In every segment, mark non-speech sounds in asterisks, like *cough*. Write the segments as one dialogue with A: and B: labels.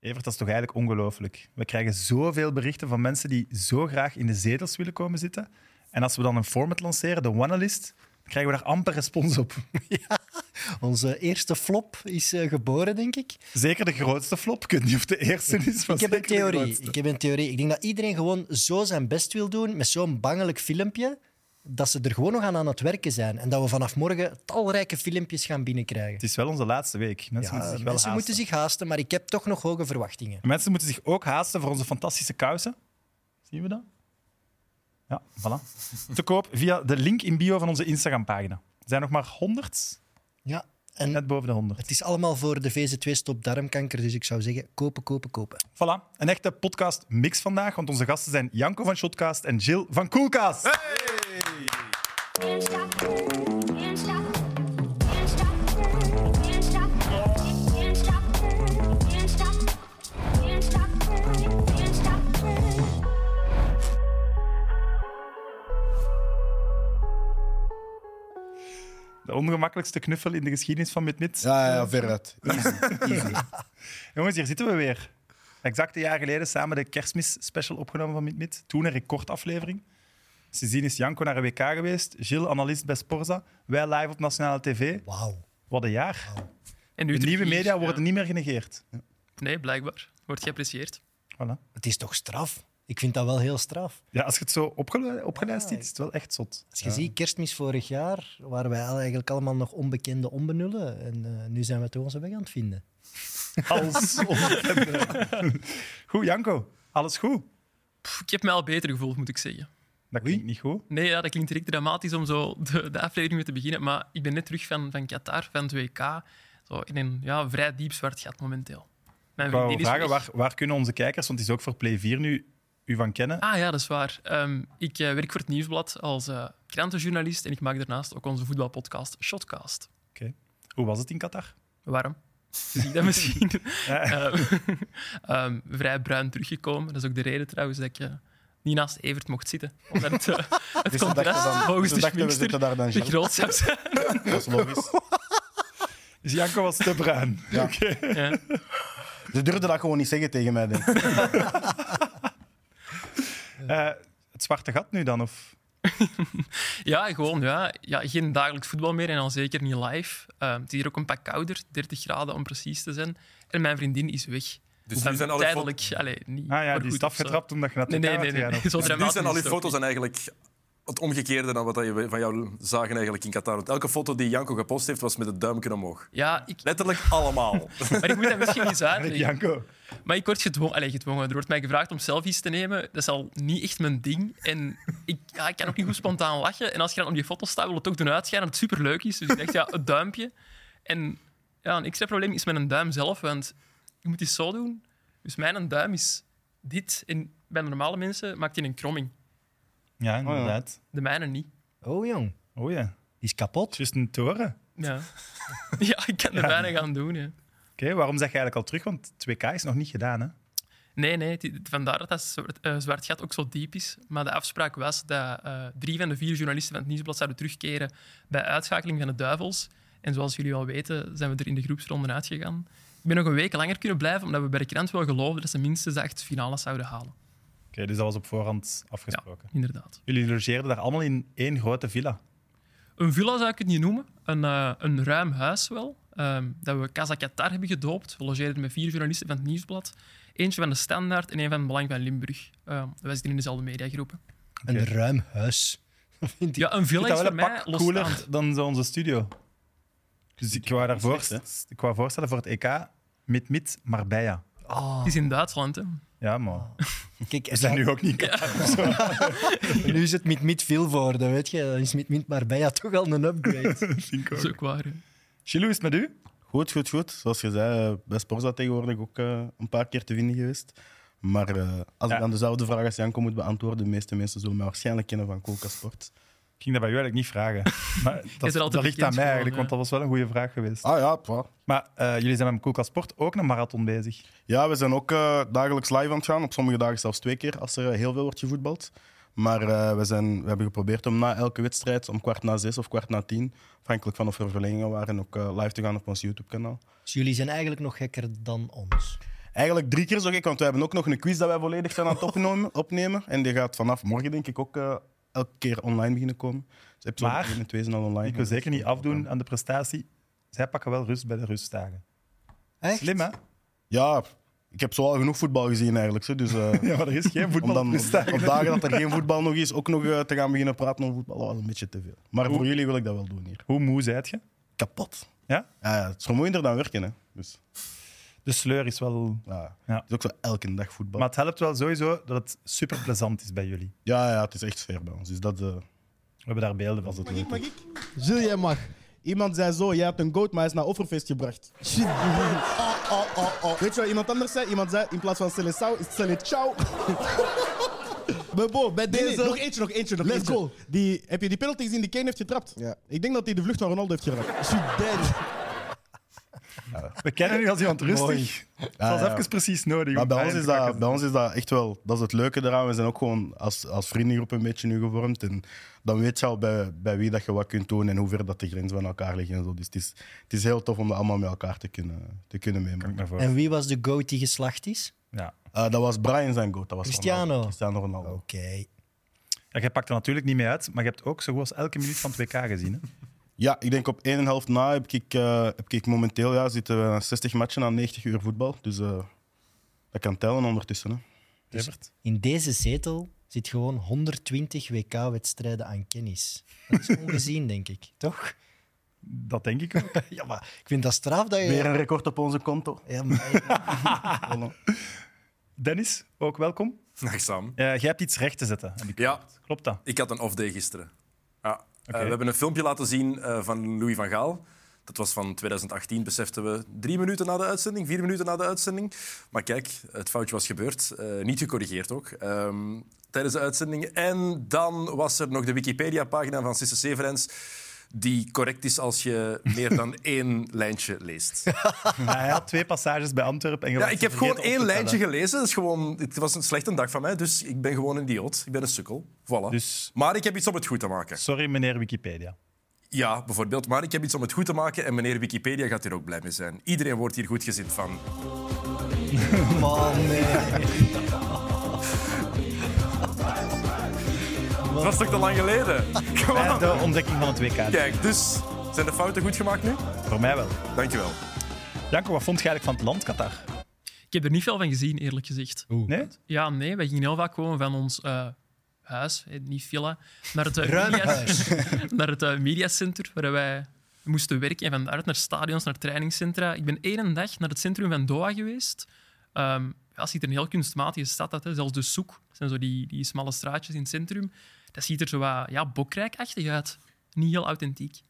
A: Evert, dat is toch eigenlijk ongelooflijk. We krijgen zoveel berichten van mensen die zo graag in de zetels willen komen zitten. En als we dan een format lanceren, de Wanalist, dan krijgen we daar amper respons op. *laughs*
B: Onze eerste flop is eh, geboren, denk ik.
A: Zeker de grootste flop. Ik weet niet of de eerste is, maar
B: Ik heb, een
A: zeker de
B: theorie.
A: grootste.
B: ik heb een theorie. Ik denk dat iedereen gewoon zo zijn best wil doen met zo'n bangelijk filmpje, dat ze er gewoon nog aan aan het werken zijn. En dat we vanaf morgen talrijke filmpjes gaan binnenkrijgen.
A: Het is wel onze laatste week. Mensen
B: Ja,
A: moeten zich wel
B: mensen
A: haasten.
B: moeten zich haasten, maar ik heb toch nog hoge verwachtingen.
A: En Mensen moeten zich ook haasten voor onze fantastische kousen. Zien we dat? Ja, voilà. Te koop via de link in bio van onze Instagram-pagina. Er zijn nog maar 100,
B: Ja. En
A: net boven de 100.
B: het is allemaal voor de VZ2-stop darmkanker, dus ik zou zeggen, kopen, kopen, kopen.
A: Voilà, een echte podcast-mix vandaag, want onze gasten zijn Janko van Shotcast en Jill van Coolcast.
C: Can't stop, can't stop, can't stop, can't stop, can't stop, can't stop, can't stop, can't stop.
A: De ongemakkelijkste knuffel in de geschiedenis van MidMid.
D: Ja, ja, ja, veruit.
A: Jongens, hier zitten we weer. Exact een jaar geleden samen de kerstmis-special opgenomen van MidMid. Toen een recordaflevering. Sindsdien is Janko naar een WK geweest, Jill analist bij Sporza, wij live op nationale tv.
B: Wauw.
A: Wat een jaar.
E: En nu
A: De
E: terug
A: nieuwe
E: hier,
A: media
E: ja.
A: worden niet meer genegeerd.
E: Nee, blijkbaar. Wordt geapprecieerd.
A: Voilà.
B: Het is toch straf? Ik vind dat wel heel straf.
A: Ja, als je het zo opgele- opgelijst ziet, is het wel echt zot.
B: Als je ziet, kerstmis vorig jaar waren wij al- eigenlijk allemaal nog onbekende onbenullen. En eh, nu zijn we toch onze weg aan het vinden.
A: Als Goed, Janko. Alles goed?
E: Pff, ik heb me al beter gevoeld, moet ik zeggen.
A: Dat klinkt niet goed.
E: Nee, ja, dat klinkt direct dramatisch om zo de, de aflevering mee te beginnen. Maar ik ben net terug van, van Qatar, van het WK. Zo in een ja, vrij diep zwart gat momenteel. Mijn
A: Ik wou
E: vriendin is
A: vragen,
E: weg.
A: waar, waar kunnen onze kijkers, want het is ook voor Play 4 nu, u van kennen?
E: Ah ja, dat is waar. Ehm, ik eh, werk voor het Nieuwsblad als eh, krantenjournalist en ik maak daarnaast ook onze voetbalpodcast Shotcast.
A: Oké. Hoe was het in Qatar? *laughs*
E: Waarom? Zie je dat misschien?
A: Ja.
E: *laughs* Ehm, ehm, vrij bruin teruggekomen. Dat is ook de reden trouwens dat ik eh, niet naast Evert mocht zitten. Omdat
A: *laughs*
E: het, eh, het
D: Dus ze
E: contrast
D: dachten dan-
E: volgens
D: ze
E: de
D: dachten, we
E: schminkster
D: zitten daar dan
E: te
D: zelf.
E: groot zou zijn.
D: Dat is logisch.
A: Dus Janko was te bruin.
D: Ja.
E: Ja.
D: *laughs* Ze durfden dat gewoon niet zeggen tegen mij, denk ik.
A: Eh, het zwarte gat nu dan? Of?
E: Ja, gewoon. Ja. Ja, geen dagelijks voetbal meer en al zeker niet live. Eh, het is hier ook een pak kouder, 30 graden om precies te zijn. En mijn vriendin is weg.
F: Dus
E: Dan
F: nu zijn, al uw
E: tijdelijk.
F: foto's,
E: Allee, niet,
A: Ah ja,
E: maar
A: die
E: goed
A: is
E: of zo.
A: afgetrapt omdat je naar het
E: Nee,
A: WK
E: nee,
A: werd
E: nee. nee,
A: gegaan, of-
E: Zo
F: nu
E: dramatisch
F: Dus zijn al uw
E: is het ook
F: foto's dan eigenlijk het omgekeerde dan wat je van jou zagen eigenlijk in Qatar. Want elke foto die Janko gepost heeft, was met het duimpje omhoog.
E: niet. Ja, ik,
F: Letterlijk allemaal. *laughs*
E: maar ik moet dat misschien
A: *laughs*
E: eens uitleggen.
A: Janko.
E: Maar ik word gedwongen, allee, gedwongen. Er wordt mij gevraagd om selfies te nemen. Dat is al niet echt mijn ding. En ik, ja, ik kan ook niet goed spontaan lachen. En als je dan op die foto staat, wil het ook doen uitschijnen dat het superleuk is. Dus ik dacht, ja, het duimpje. En ja, een extra probleem is met een duim zelf. Want je moet iets zo doen. Dus mijn duim is dit. En bij normale mensen maakt hij een kromming.
A: Ja, inderdaad.
E: De mijne niet.
B: Oh jong,
A: Oh ja.
B: die is kapot.
A: Just een toren.
E: Ja, *laughs* ja ik kan er weinig aan doen. Hè.
A: Oké, waarom zeg je eigenlijk al terug? Want het WK is nog niet gedaan, hè?
E: Nee, nee. het- het- Vandaar dat dat zwart, eh, zwart gat ook zo diep is. Maar de afspraak was dat eh, drie van de vier journalisten van het Nieuwsblad zouden terugkeren bij uitschakeling van de duivels. En zoals jullie al weten, zijn we er in de groepsronde uitgegaan. Ik ben nog een week langer kunnen blijven, omdat we bij de krant wel geloofden dat ze minstens de acht finales zouden halen.
A: Oké, dus dat was op voorhand afgesproken.
E: Inderdaad.
A: Jullie logeerden daar allemaal in één grote villa.
E: Een villa zou ik het niet noemen. Een, eh, een ruim huis wel. Ehm, dat we Casa Qatar hebben gedoopt. We logeerden met vier journalisten van het Nieuwsblad. Eentje van de Standaard en één van het Belang van Limburg. Ehm wij zitten in dezelfde mediagroepen.
B: Een ruim huis. Vind ik.
E: Ja, een villa
A: Ik vind
E: is
A: dat
E: voor
A: wel een
E: mij
A: pak cooler
E: losstaand.
A: dan zo onze studio. Dus ik wou, daarvoor, ik wou voorstellen voor het EK, mit mit Marbella.
E: Het is in Duitsland, hè.
A: Ja, man. *laughs*
B: Kijk,
A: We zijn nu ook niet in Qatar.
B: nu is het met Miet Vilvoorde, weet je. Dan is met Miet Marbella toch al een *laughs* upgrade.
E: Dat is ook waar. hè.
A: Chilou, is het met u?
D: Goed, goed, goed. Zoals je zei, eh, bij Sporza tegenwoordig ook eh, een paar keer te vinden geweest. Maar eh, als
A: Ja.
D: ik dan dezelfde vraag als Janko moet beantwoorden, de meeste mensen zullen mij waarschijnlijk kennen van Coca Sport.
A: Ik ging dat bij u eigenlijk niet vragen. *laughs* Maar dat,
E: bent
A: dat
E: altijd
A: ligt aan
E: bekend
A: mij eigenlijk,
E: geworden,
A: want dat was wel een goede vraag geweest.
D: Ah ja, pwa.
A: Maar eh, jullie zijn met Koelkast Sport ook een marathon bezig.
D: Ja, we zijn ook eh, dagelijks live aan het gaan. Op sommige dagen zelfs twee keer, als er eh, heel veel wordt gevoetbald. Maar eh, we, zijn, we hebben geprobeerd om na elke wedstrijd, om kwart na zes of kwart na tien, afhankelijk van of er verlengingen waren, ook eh, live te gaan op ons YouTube-kanaal.
B: Dus jullie zijn eigenlijk nog gekker dan ons.
D: Eigenlijk drie keer zo gek, want we hebben ook nog een quiz dat wij volledig zijn aan het opnemen. *laughs* opnemen. En die gaat vanaf morgen, denk ik, ook eh, elke keer online beginnen komen. Dus episode
A: Maar-
D: 1 en 2 zijn al online.
A: Ik wil zeker niet afdoen aan de prestatie. Zij pakken wel rust bij de rustdagen.
B: Echt?
A: Slim, hè?
D: Ja, ik heb zo al genoeg voetbal gezien eigenlijk. zo. Dus, eh,
A: *laughs* Ja, maar er is geen
D: Om
A: voetbal dus
D: dan
A: op
D: op,
A: rustdagen.
D: op dagen dat er geen voetbal nog is, ook nog eh, te gaan beginnen praten over voetbal, dat was een beetje te veel. Maar voor jullie wil ik dat wel doen hier.
A: Hoe moe zijt je?
D: Kapot.
A: Ja?
D: Ja, ja, het is vermoeiender dan werken, hè. Dus,
A: De sleur is wel...
D: ja.
A: Ja.
D: Het is ook zo elke dag voetbal.
A: Maar het helpt wel sowieso dat het super plezant is bij jullie.
D: Ja, ja, het is echt sfeer bij ons. Dus dat eh,
A: We hebben daar beelden van.
D: was het leuk.
G: Zul jij mag.
H: Iemand zei zo, jij hebt een goat, maar hij is naar Offerfeest gebracht.
G: Shit.
H: Oh, oh, oh, oh. Weet je wat iemand anders zei? Iemand zei, in plaats van Selecao is *laughs* Selecao.
G: Maar bo, bij
H: Nee, nee,
G: deze...
H: nog eentje, nog eentje, nog
G: Let's
H: eentje.
G: go.
H: Die, heb je die penalty gezien die Kane heeft getrapt?
G: Ja.
H: Ik denk dat hij de vlucht van Ronaldo heeft geraakt.
G: Shit, dead.
A: We kennen u als iemand rustig. Het was
D: Ah, ja.
A: even precies nodig.
D: Maar
A: om
D: bij ons,
A: pijn
D: is
A: te
D: dat,
A: pakken.
D: bij ons is dat echt wel, dat is het leuke eraan. We zijn ook gewoon als, als vriendengroep een beetje nu gevormd. En dan weet je al bij, bij wie dat je wat kunt doen en hoe ver dat de grenzen van elkaar liggen. En zo. Dus het is, het is heel tof om dat allemaal met elkaar te kunnen, te kunnen meemaken.
A: Daarvoor.
B: En wie was de goat die geslacht is?
A: Ja.
D: Eh, dat was Brian zijn goat. Dat was
B: Cristiano.
D: Ronaldo. Cristiano Ronaldo.
B: Oké.
A: Ja, jij pakt er natuurlijk niet mee uit, maar je hebt ook zo goed als elke minuut van het WK gezien. Hè?
E: *laughs*
D: Ja, ik denk op 1,5 na heb ik, eh, heb ik momenteel ja, zitten we aan 60 matchen aan 90 uur voetbal. Dus eh, dat kan tellen ondertussen. Hè.
A: Evert?
B: In deze zetel zit gewoon 120 WK-wedstrijden aan kennis. Dat is ongezien, denk ik. Toch?
A: Dat denk ik ook.
B: *laughs*
A: *laughs*
B: Ja, maar ik vind dat straf dat je...
D: Weer een record op onze konto.
B: Ja, maar...
A: Dennis, ook welkom.
F: Nachtzaam.
A: Eh, jij hebt iets recht te zetten. heb ik
F: Ja.
A: gehoord. Klopt
F: *laughs*
A: dat?
F: Ik had een off-day gisteren. Ja. Eh,
A: Oké.
F: we hebben een filmpje laten zien eh, van Louis van Gaal. Dat was van 2018, beseften we drie minuten na de uitzending, vier minuten na de uitzending. Maar kijk, het foutje was gebeurd. Eh, niet gecorrigeerd ook. ehm, tijdens de uitzending. En dan was er nog de Wikipedia-pagina van Sisse Severens. Die correct is als je
A: *laughs*
F: meer dan één lijntje leest.
A: Maar hij had twee passages bij Antwerpen. En je
F: Ah, Ja,
A: was
F: ik heb gewoon
A: vergeten op
F: één
A: te
F: lijntje
A: tellen.
F: gelezen. Dat is gewoon, het was een slechte dag van mij, dus ik ben gewoon een idioot. Ik ben een sukkel. Voilà.
A: Dus-
F: Maar ik heb iets om het goed te maken.
A: Sorry, meneer Wikipedia.
F: Ja, bijvoorbeeld. Maar ik heb iets om het goed te maken en meneer Wikipedia gaat hier ook blij mee zijn. Iedereen wordt hier goed gezind van.
B: Man, nee.
F: Dat was toch te lang geleden?
A: Bij
F: Gewoon.
A: Eh, de ontdekking van het WK.
F: Kijk, dus zijn de fouten goed gemaakt nu?
A: Voor mij wel.
F: Dankjewel.
A: Janko, wat vond je eigenlijk van het land Qatar?
E: Ik heb er niet veel van gezien, eerlijk gezegd.
A: Nee?
E: Ja, nee, wij gingen heel vaak gewoon van ons eh, huis, eh, niet villa, naar het, eh, media- *laughs* naar het eh, mediacenter waar wij moesten werken. En vanuit naar stadions, naar trainingscentra. Ik ben één dag naar het centrum van Doha geweest. Ehm ja, het ziet er een heel kunstmatige stad uit. Hè. Zelfs de soek, dat zijn zo die, die smalle straatjes in het centrum. Dat ziet er zo wat ja, bokrijkachtig uit. Niet heel authentiek.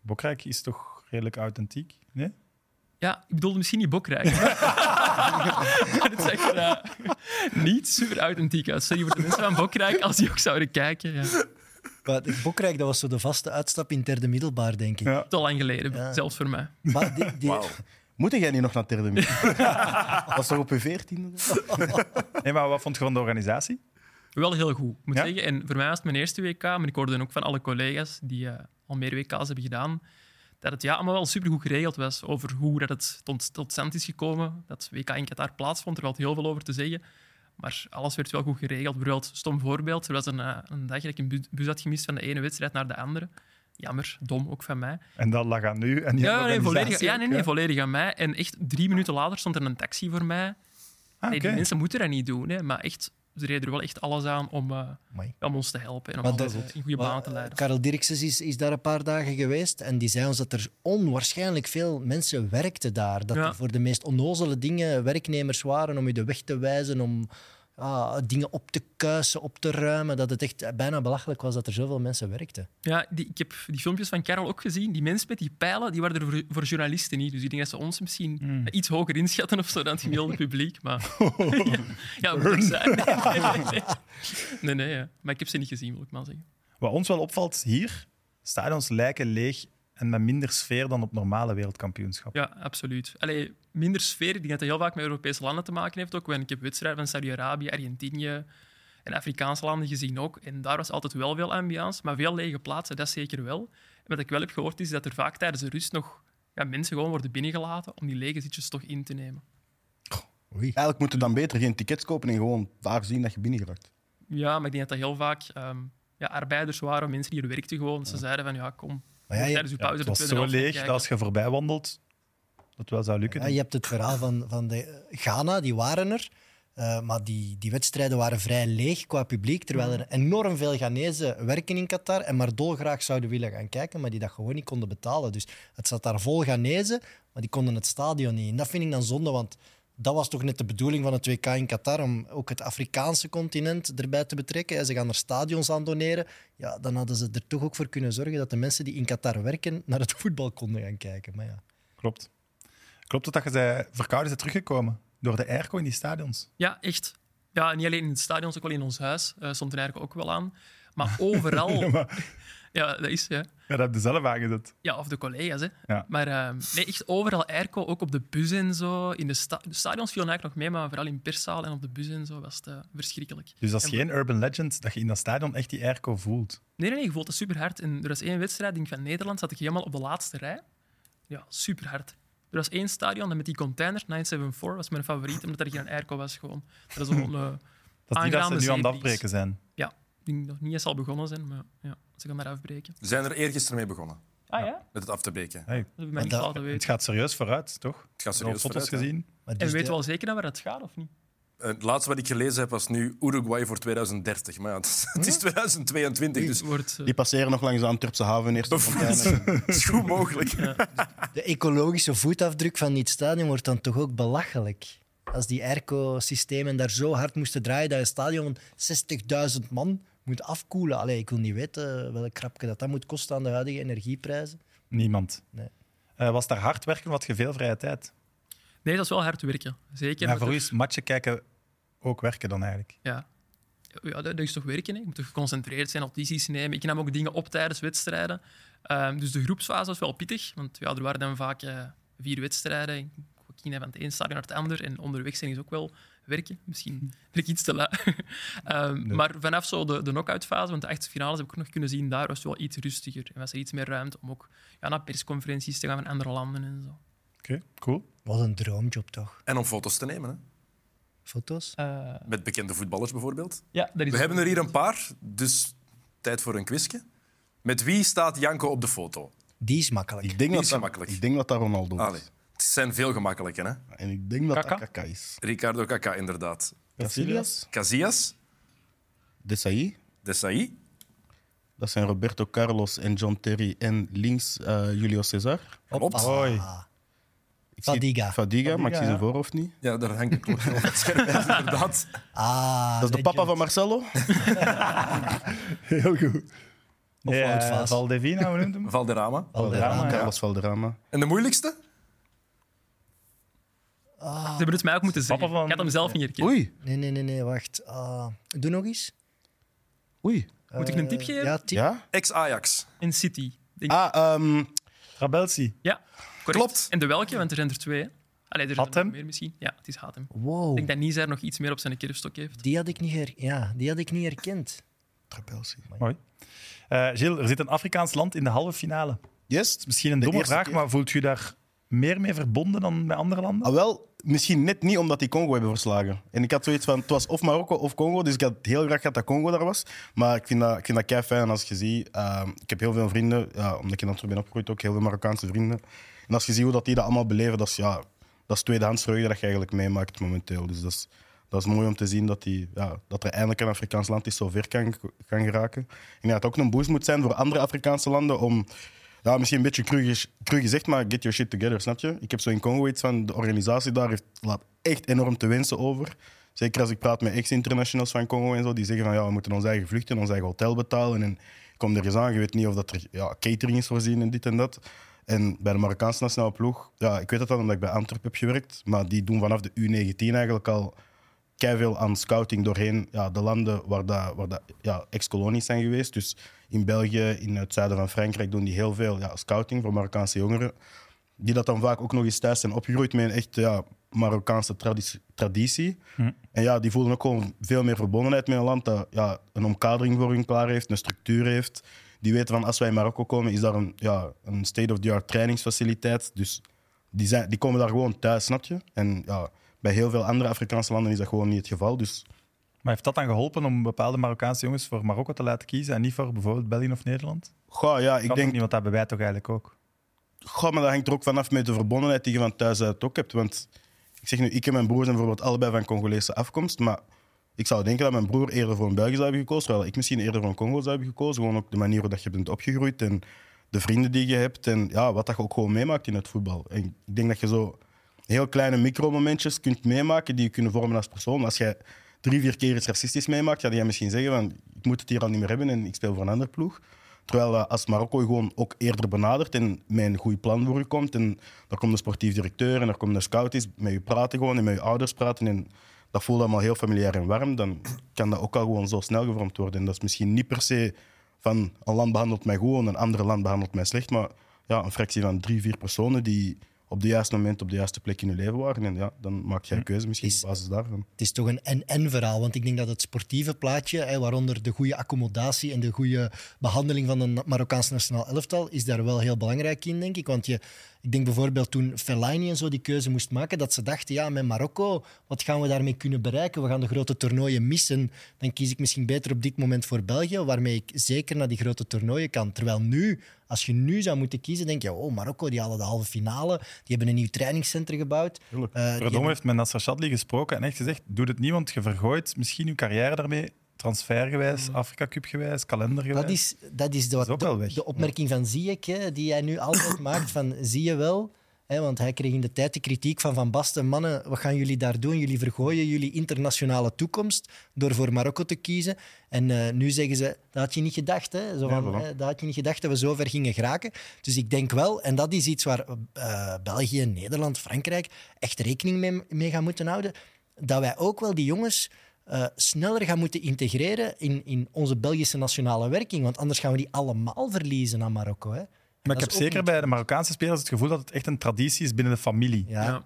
A: Bokrijk is toch redelijk authentiek? Nee?
E: Ja, ik bedoelde misschien niet bokrijk. *laughs* maar het zegt er eh, niet super authentiek uit. Sorry voor de mensen van bokrijk als die ook zouden kijken. Ja.
B: Maar de Bokrijk, dat was zo de vaste uitstap in het derde middelbaar, denk ik.
A: Ja.
E: Te lang geleden, zelfs voor mij.
B: Maar die, die-
D: Moet jij niet nog naar Terdemie? *laughs* was toch op je 14?
A: Nee, maar wat vond je van de organisatie?
E: Wel heel goed, moet
A: Ja?
E: zeggen. En voor mij was het mijn eerste WK, maar ik hoorde ook van alle collega's die eh, al meer WK's hebben gedaan, dat het ja, allemaal wel supergoed geregeld was over hoe dat het tot, tot stand is gekomen. Dat WK in Qatar plaatsvond, er valt heel veel over te zeggen. Maar alles werd wel goed geregeld. Bijvoorbeeld, stom voorbeeld, er was een, eh, een dag dat ik een bu- bus had gemist van de ene wedstrijd naar de andere. Jammer, dom ook van mij.
A: En dat lag aan nu. En die
E: Ja, nee,
A: organisatie
E: volledig, ja,
A: ook, Ah,
E: nee, nee, volledig aan mij. En echt drie minuten later stond er een taxi voor mij.
A: Ah,
E: Nee, die
A: oké.
E: mensen moeten dat niet doen, hè, maar echt, ze reden er wel echt alles aan om, eh,
B: Amai.
E: om ons te helpen en om
B: Maar
E: alles
B: dat-
E: in goede
B: maar,
E: banen te
B: eh,
E: leiden.
B: Karel Dirkses is, is daar een paar dagen geweest en die zei ons dat er onwaarschijnlijk veel mensen werkten daar. Dat
E: Ja.
B: er voor de meest onnozele dingen werknemers waren om je de weg te wijzen, om ah, dingen op te kuisen, op te ruimen. Dat het echt bijna belachelijk was dat er zoveel mensen werkten.
E: Ja, die, ik heb die filmpjes van Karel ook gezien. Die mensen met die pijlen, die waren er voor, voor journalisten niet. Dus ik denk dat ze ons misschien
B: Hmm.
E: eh, iets hoger inschatten of zo dan
B: *laughs*
E: het gemiddelde publiek. Maar *laughs* ja, ja, moet ik zijn. Nee, nee, nee. nee, nee, ja. maar ik heb ze niet gezien, wil ik maar zeggen.
A: Wat ons wel opvalt hier, stadions lijken leeg en met minder sfeer dan op normale wereldkampioenschappen.
E: Ja, absoluut. Allee, minder sfeer. Ik denk dat dat heel vaak met Europese landen te maken heeft. Ook. Want Ik heb wedstrijden van Saudi-Arabië, Argentinië en Afrikaanse landen gezien ook. En daar was altijd wel veel ambiance, maar veel lege plaatsen, dat zeker wel. En wat ik wel heb gehoord is dat er vaak tijdens de rust nog ja, mensen gewoon worden binnengelaten om die lege zitjes toch in te nemen.
D: Eigenlijk moeten we dan beter geen tickets kopen en gewoon daar zien dat je binnen geraakt.
E: Ja, maar ik denk dat dat heel vaak ehm, ja, arbeiders waren, mensen die hier werkten gewoon. Ze zeiden van, ja, kom,
B: Maar ja, je,
E: tijdens uw pauze
A: het
E: de
A: was
E: tweede
A: zo
E: helft gaan
A: leeg dat
E: kijken.
A: als je voorbij wandelt, dat wel zou lukken.
B: ja, je hebt het verhaal van, van de eh, Ghana, die waren er. eh, maar die, die wedstrijden waren vrij leeg qua publiek. Terwijl er enorm veel Ghanese werken in Qatar. En maar dolgraag zouden willen gaan kijken, maar die dat gewoon niet konden betalen. Dus het zat daar vol Ghanese, maar die konden het stadion niet. En dat vind ik dan zonde, want dat was toch net de bedoeling van het WK in Qatar. Om ook het Afrikaanse continent erbij te betrekken. En ze gaan er stadions aan doneren. Ja, dan hadden ze er toch ook voor kunnen zorgen dat de mensen die in Qatar werken naar het voetbal konden gaan kijken. Maar ja.
A: Klopt. Klopt het dat je zei, verkouden bent teruggekomen door de airco in die stadions?
E: Ja, echt. Ja, niet alleen in het stadion, ook wel in ons huis. eh, stond er eigenlijk ook wel aan.
A: *laughs*
E: Maar overal...
A: maar-
E: ja, dat is... Ja.
A: Ja, dat heb je zelf aangezet.
E: Ja, of de collega's. Hè.
A: Ja.
E: Maar ehm, nee, echt overal airco, ook op de bus en zo. In de, sta- de stadions viel eigenlijk nog mee, maar vooral in perszaal en op de bus en zo was het eh, verschrikkelijk.
A: Dus dat is
E: En-
A: geen urban legend, dat je in dat stadion echt die airco voelt.
E: Nee, nee, nee, je voelt het super hard. En er was één wedstrijd, denk ik, van Nederland, zat ik helemaal op de laatste rij. Ja, super hard. Er was één stadion en met die container, 974, was mijn favoriet, omdat er geen airco was gewoon. Dat is een eh,
A: *laughs* Dat is niet dat ze
E: Aangename
A: nu aan het
E: zeebries.
A: afbreken zijn.
E: ik denk nog niet eens al begonnen zijn, maar ja, ze gaan daar afbreken.
F: We zijn er eergisteren mee begonnen,
E: Ah ja?
F: met het af te breken.
E: Dat heb ik mij niet
B: dat-
E: laten
A: Het
E: weten.
A: gaat serieus vooruit, toch?
F: Het gaat
A: Al
F: serieus
A: foto's
F: vooruit, hè.
A: gezien.
B: Maar
E: En
B: dus
E: we
B: de-
E: weten wel zeker naar waar dat gaat, of niet?
F: Eh, Het laatste wat ik gelezen heb was nu Uruguay voor 2030. Maar ja, *laughs* het is, het is 2022, dus
E: Wordt, eh,
D: Die passeren nog langs de Antwerpse haven eerst. de fonteinen.
F: het is goed mogelijk.
B: De ecologische voetafdruk van dit stadion wordt dan toch ook belachelijk. Als die airco-systemen daar zo hard moesten draaien dat een stadion van 60.000 man moet afkoelen. Allee, ik wil niet weten welk krapje dat, dat moet kosten aan de huidige energieprijzen.
A: Niemand.
B: Nee.
A: Eh, was daar hard werken, wat je veel vrije tijd.
E: Nee, dat is wel hard werken. Zeker.
A: Maar
E: met
A: voor u
E: de-
A: is matchen kijken ook werken dan eigenlijk.
E: Ja. Ja, dat, dat is toch werken, hè? Je moet toch geconcentreerd zijn, notities nemen. Ik nam ook dingen op tijdens wedstrijden. Ehm, dus de groepsfase was wel pittig, want ja, er waren dan vaak eh, vier wedstrijden. Ik ging van het een stadion naar het ander en onderweg zijn is ook wel werken. Misschien *laughs* ben ik iets te laat. Ehm, Maar vanaf zo de, de knock-outfase, want de achtste finales heb ik ook nog kunnen zien, daar was het wel iets rustiger. En was er iets meer ruimte om ook ja, naar persconferenties te gaan van andere landen en zo.
A: Oké, cool.
B: Wat een droomjob toch?
F: En om foto's te nemen, hè.
B: Foto's?
E: Eh,
F: met bekende voetballers bijvoorbeeld.
E: ja, dat is
F: We hebben er hier een paar, dus tijd voor een quizje. Met wie staat Janko op de foto?
B: Die is makkelijk.
D: ik, denk
F: Die
D: dat
F: is
D: dat,
F: gemakkelijk.
D: ik denk dat dat Ronaldo is.
F: Allee, het zijn veel gemakkelijker, hè?
D: En ik denk dat
A: Kaka?
D: dat Kaka is.
F: Ricardo Kaka, inderdaad.
D: Casillas,
F: Casillas,
D: Desailly.
F: Desailly,
D: Dat zijn Roberto Carlos en John Terry. En links eh, Julio Cesar.
F: klopt.
A: Hoi.
B: Ah,
D: Ik
B: Fadiga.
D: Zie, Fadiga, maar ik zie zijn voorhoofd niet.
F: Ja, daar hangt een klokje op het scherm, *laughs* inderdaad.
B: Ah,
D: Dat is de papa van Marcelo. Heel goed.
B: Of
A: Ja,
B: Wout Vaas.
A: Valdevina, hoe noemt
B: *laughs*
A: hem?
F: Valderrama.
A: Oh.
B: Valderrama.
A: ja.
D: Carlos Valderrama.
F: En de moeilijkste?
E: Ze hebben het mij ook moeten zeggen.
A: Papa van-
E: Ik had hem zelf niet herkend.
D: Oei,
B: Nee, nee, nee, nee, wacht. Ah, doe nog eens.
D: oei.
E: Moet ik een tip geven?
B: Eh, Ja, tip.
D: Ja?
F: Ex-Ajax.
E: In City. Denk
D: Ah, ehm,
A: Trabelsi.
E: Ja, correct.
F: Klopt.
E: En de welke, want er zijn er twee. hè. Allee, er zijn er
A: Hatem?
E: nog meer misschien. Ja, het is Hatem. Ik
B: Wow,
E: denk dat Nizar nog iets meer op zijn kerfstok heeft.
B: die had ik niet, her- ja, die had ik niet herkend.
D: Trapelsi.
A: Mooi. Eh Gilles, er zit een Afrikaans land in de halve finale.
D: Yes.
A: Misschien een
D: De
A: domme
D: eerste
A: vraag,
D: keer.
A: maar voelt u daar meer mee verbonden dan bij andere landen?
D: Ah, wel, misschien net niet omdat die Congo hebben verslagen. En ik had zoiets van, het was of Marokko of Congo, dus ik had heel graag gehad dat Congo daar was. Maar ik vind dat, ik vind dat kei fijn als je ziet. ehm, ik heb heel veel vrienden, ja, omdat ik in Antwerpen ben opgegroeid, ook heel veel Marokkaanse vrienden. En als je ziet hoe dat die dat allemaal beleven, dat is, ja, dat is tweedehands vreugde dat je eigenlijk meemaakt momenteel. Dus dat is, dat is mooi om te zien dat, die, ja, dat er eindelijk een Afrikaans land is zo ver kan, kan geraken. En ik denk dat het ook een boost moet zijn voor andere Afrikaanse landen om... Ja, misschien een beetje cru, ges- cru gezegd, maar get your shit together, snap je? Ik heb zo in Congo iets van, de organisatie daar heeft, laat echt enorm te wensen over. Zeker als ik praat met ex-internationals van Congo en zo, die zeggen van, ja, we moeten ons eigen vluchten, ons eigen hotel betalen. En kom er eens aan, je weet niet of dat er ja, catering is voorzien en dit en dat. En bij de Marokkaanse nationale ploeg, ja, ik weet dat dan omdat ik bij Antwerpen heb gewerkt, maar die doen vanaf de U19 eigenlijk al veel aan scouting doorheen ja, de landen waar, dat, waar dat, ja, ex-kolonies zijn geweest. Dus in België, in het zuiden van Frankrijk doen die heel veel ja, scouting voor Marokkaanse jongeren. Die dat dan vaak ook nog eens thuis zijn opgegroeid met een echt ja, Marokkaanse traditie. traditie. En ja, die voelen ook gewoon veel meer verbondenheid met een land dat ja, een omkadering voor hun klaar heeft, een structuur heeft. Die weten van als wij in Marokko komen, is daar een, ja, een state-of-the-art trainingsfaciliteit. Dus die, zijn, die komen daar gewoon thuis, snap je? En ja, Bij heel veel andere Afrikaanse landen is dat gewoon niet het geval. Dus
A: Maar heeft dat dan geholpen om bepaalde Marokkaanse jongens voor Marokko te laten kiezen en niet voor bijvoorbeeld België of Nederland?
D: goh, ja, ik
A: Ik denk
D: denk,
A: niet, want dat hebben wij toch eigenlijk ook.
D: goh, maar dat hangt er ook vanaf met de verbondenheid die je van thuis uit ook hebt. Want ik zeg nu, ik en mijn broer zijn bijvoorbeeld allebei van Congolese afkomst, maar ik zou denken dat mijn broer eerder voor een België zou hebben gekozen, terwijl ik misschien eerder voor een Congo zou hebben gekozen. Gewoon ook de manier waarop je bent opgegroeid en de vrienden die je hebt en ja, wat dat je ook gewoon meemaakt in het voetbal. En ik denk dat je zo heel kleine micromomentjes kunt meemaken die je kunnen vormen als persoon. Als jij drie, vier keer iets racistisch meemaakt, ja, dan ga je misschien zeggen van ik moet het hier al niet meer hebben en ik speel voor een ander ploeg. Terwijl eh, als Marokko je gewoon ook eerder benadert en met een goed plan voor je komt en dan komt de sportief directeur en dan komt de scout is met je praten gewoon en met je ouders praten en dat voelt allemaal heel familiair en warm, dan kan dat ook al gewoon zo snel gevormd worden. En dat is misschien niet per se van een land behandelt mij goed en een ander land behandelt mij slecht, maar ja, een fractie van drie, vier personen die op de juiste moment op de juiste plek in hun leven waren. En ja, dan maak jij een keuze misschien
B: Is-
D: op basis daarvan.
B: Het is toch een en-en-verhaal, want ik denk dat het sportieve plaatje, hè, waaronder de goede accommodatie en de goede behandeling van een Marokkaans nationaal elftal, is daar wel heel belangrijk in, denk ik. Want je, ik denk bijvoorbeeld toen Fellaini en zo die keuze moest maken, dat ze dachten, ja, met Marokko, wat gaan we daarmee kunnen bereiken? We gaan de grote toernooien missen. Dan kies ik misschien beter op dit moment voor België, waarmee ik zeker naar die grote toernooien kan. Terwijl nu, als je nu zou moeten kiezen, denk je, oh, Marokko, die halen de halve finale, die hebben een nieuw trainingscentrum gebouwd. Eh, die hebben-
A: Verdomme heeft met Nasser Chadli gesproken en echt gezegd, doe het niet, want je vergooit misschien je carrière daarmee, transfergewijs, Afrika Cup gewijs, kalendergewijs.
B: Hmm. Dat is, dat is, de,
A: is ook
B: de-
A: wel weg.
B: de opmerking van Ziyech, hè, die jij nu
A: *coughs*
B: altijd maakt van zie je wel. Hè, want hij kreeg in de tijd de kritiek van Van Basten. Mannen, wat gaan jullie daar doen? Jullie vergooien jullie internationale toekomst door voor Marokko te kiezen. En eh, nu zeggen ze, dat had je niet gedacht. Hè? Zo van,
D: Ja, voilà.
B: hè, dat had je niet gedacht dat we zo ver gingen geraken. Dus ik denk wel, en dat is iets waar eh, België, Nederland, Frankrijk echt rekening mee, mee gaan moeten houden, dat wij ook wel die jongens eh, sneller gaan moeten integreren in, in onze Belgische nationale werking. Want anders gaan we die allemaal verliezen aan Marokko. Hè?
A: maar
B: dat
A: ik
B: is
A: heb
B: ook
A: zeker
B: niet-
A: bij de Marokkaanse spelers het gevoel dat het echt een traditie is binnen de familie.
B: Ja.
E: Ja.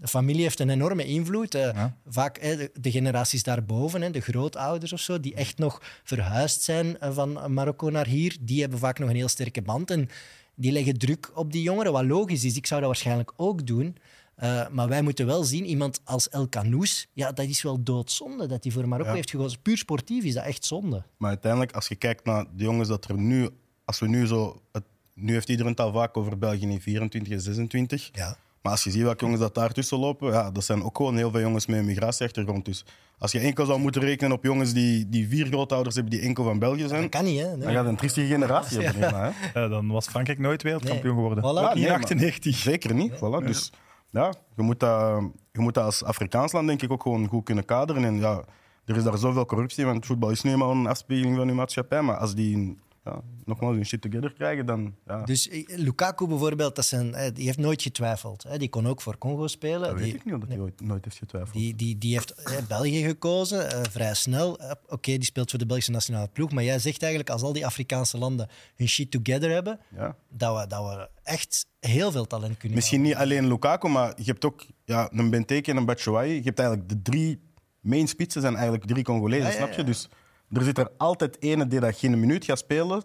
B: De familie heeft een enorme invloed. eh,
A: Ja.
B: Vaak hè, de, de generaties daarboven, hè, de grootouders of zo, die echt nog verhuisd zijn eh, van Marokko naar hier, die hebben vaak nog een heel sterke band. En die leggen druk op die jongeren, wat logisch is. Ik zou dat waarschijnlijk ook doen. Eh, maar wij moeten wel zien, iemand als El Canoes, ja, dat is wel doodzonde dat hij voor Marokko
D: Ja.
B: heeft gekozen. Puur sportief is dat echt zonde.
D: Maar uiteindelijk, als je kijkt naar de jongens dat er nu, als we nu zo. Het, nu heeft iedereen het al vaak over België in 24 en 26.
B: Ja.
D: Maar als je ziet welke jongens dat daar tussen lopen, ja, dat zijn ook gewoon heel veel jongens met een migratieachtergrond. Dus als je enkel zou moeten rekenen op jongens die, die vier grootouders hebben die enkel van België zijn,
B: Dat kan niet, hè? Nee.
D: dan gaat een triestige generatie hebben. hierna, hè.
A: Eh, dan was Frankrijk nooit wereldkampioen
B: Nee.
A: geworden.
B: Voilà.
A: Ook
B: Ja,
A: niet
D: nee,
A: in
D: maar-
A: 98.
D: Zeker niet. Voilà. Dus ja, je moet, dat, je moet dat als Afrikaans land denk ik ook gewoon goed kunnen kaderen. En ja, er is daar zoveel corruptie, want voetbal is nu eenmaal een afspiegeling van uw maatschappij. Maar als die ja, nogmaals hun shit together krijgen, dan... Ja.
B: Dus eh, Lukaku bijvoorbeeld, dat zijn, eh, die heeft nooit getwijfeld. Hè? Die kon ook voor Congo spelen.
D: Dat weet
B: Die-
D: ik niet, omdat hij ooit, nooit heeft getwijfeld.
B: Die, die, die heeft eh, België gekozen, eh, vrij snel. Eh, Oké, die speelt voor de Belgische nationale ploeg. Maar jij zegt eigenlijk, als al die Afrikaanse landen hun shit together hebben,
D: Ja.
B: dat we, dat we echt heel veel talent kunnen
D: Misschien
B: halen.
D: niet alleen Lukaku, maar je hebt ook ja, een Benteke en een Batshuayi. Je hebt eigenlijk de drie main spitsen zijn eigenlijk drie Congolezen,
B: Ja, ja,
D: snap je?
B: ja.
D: Dus er zit er altijd ene die dat geen minuut gaat spelen,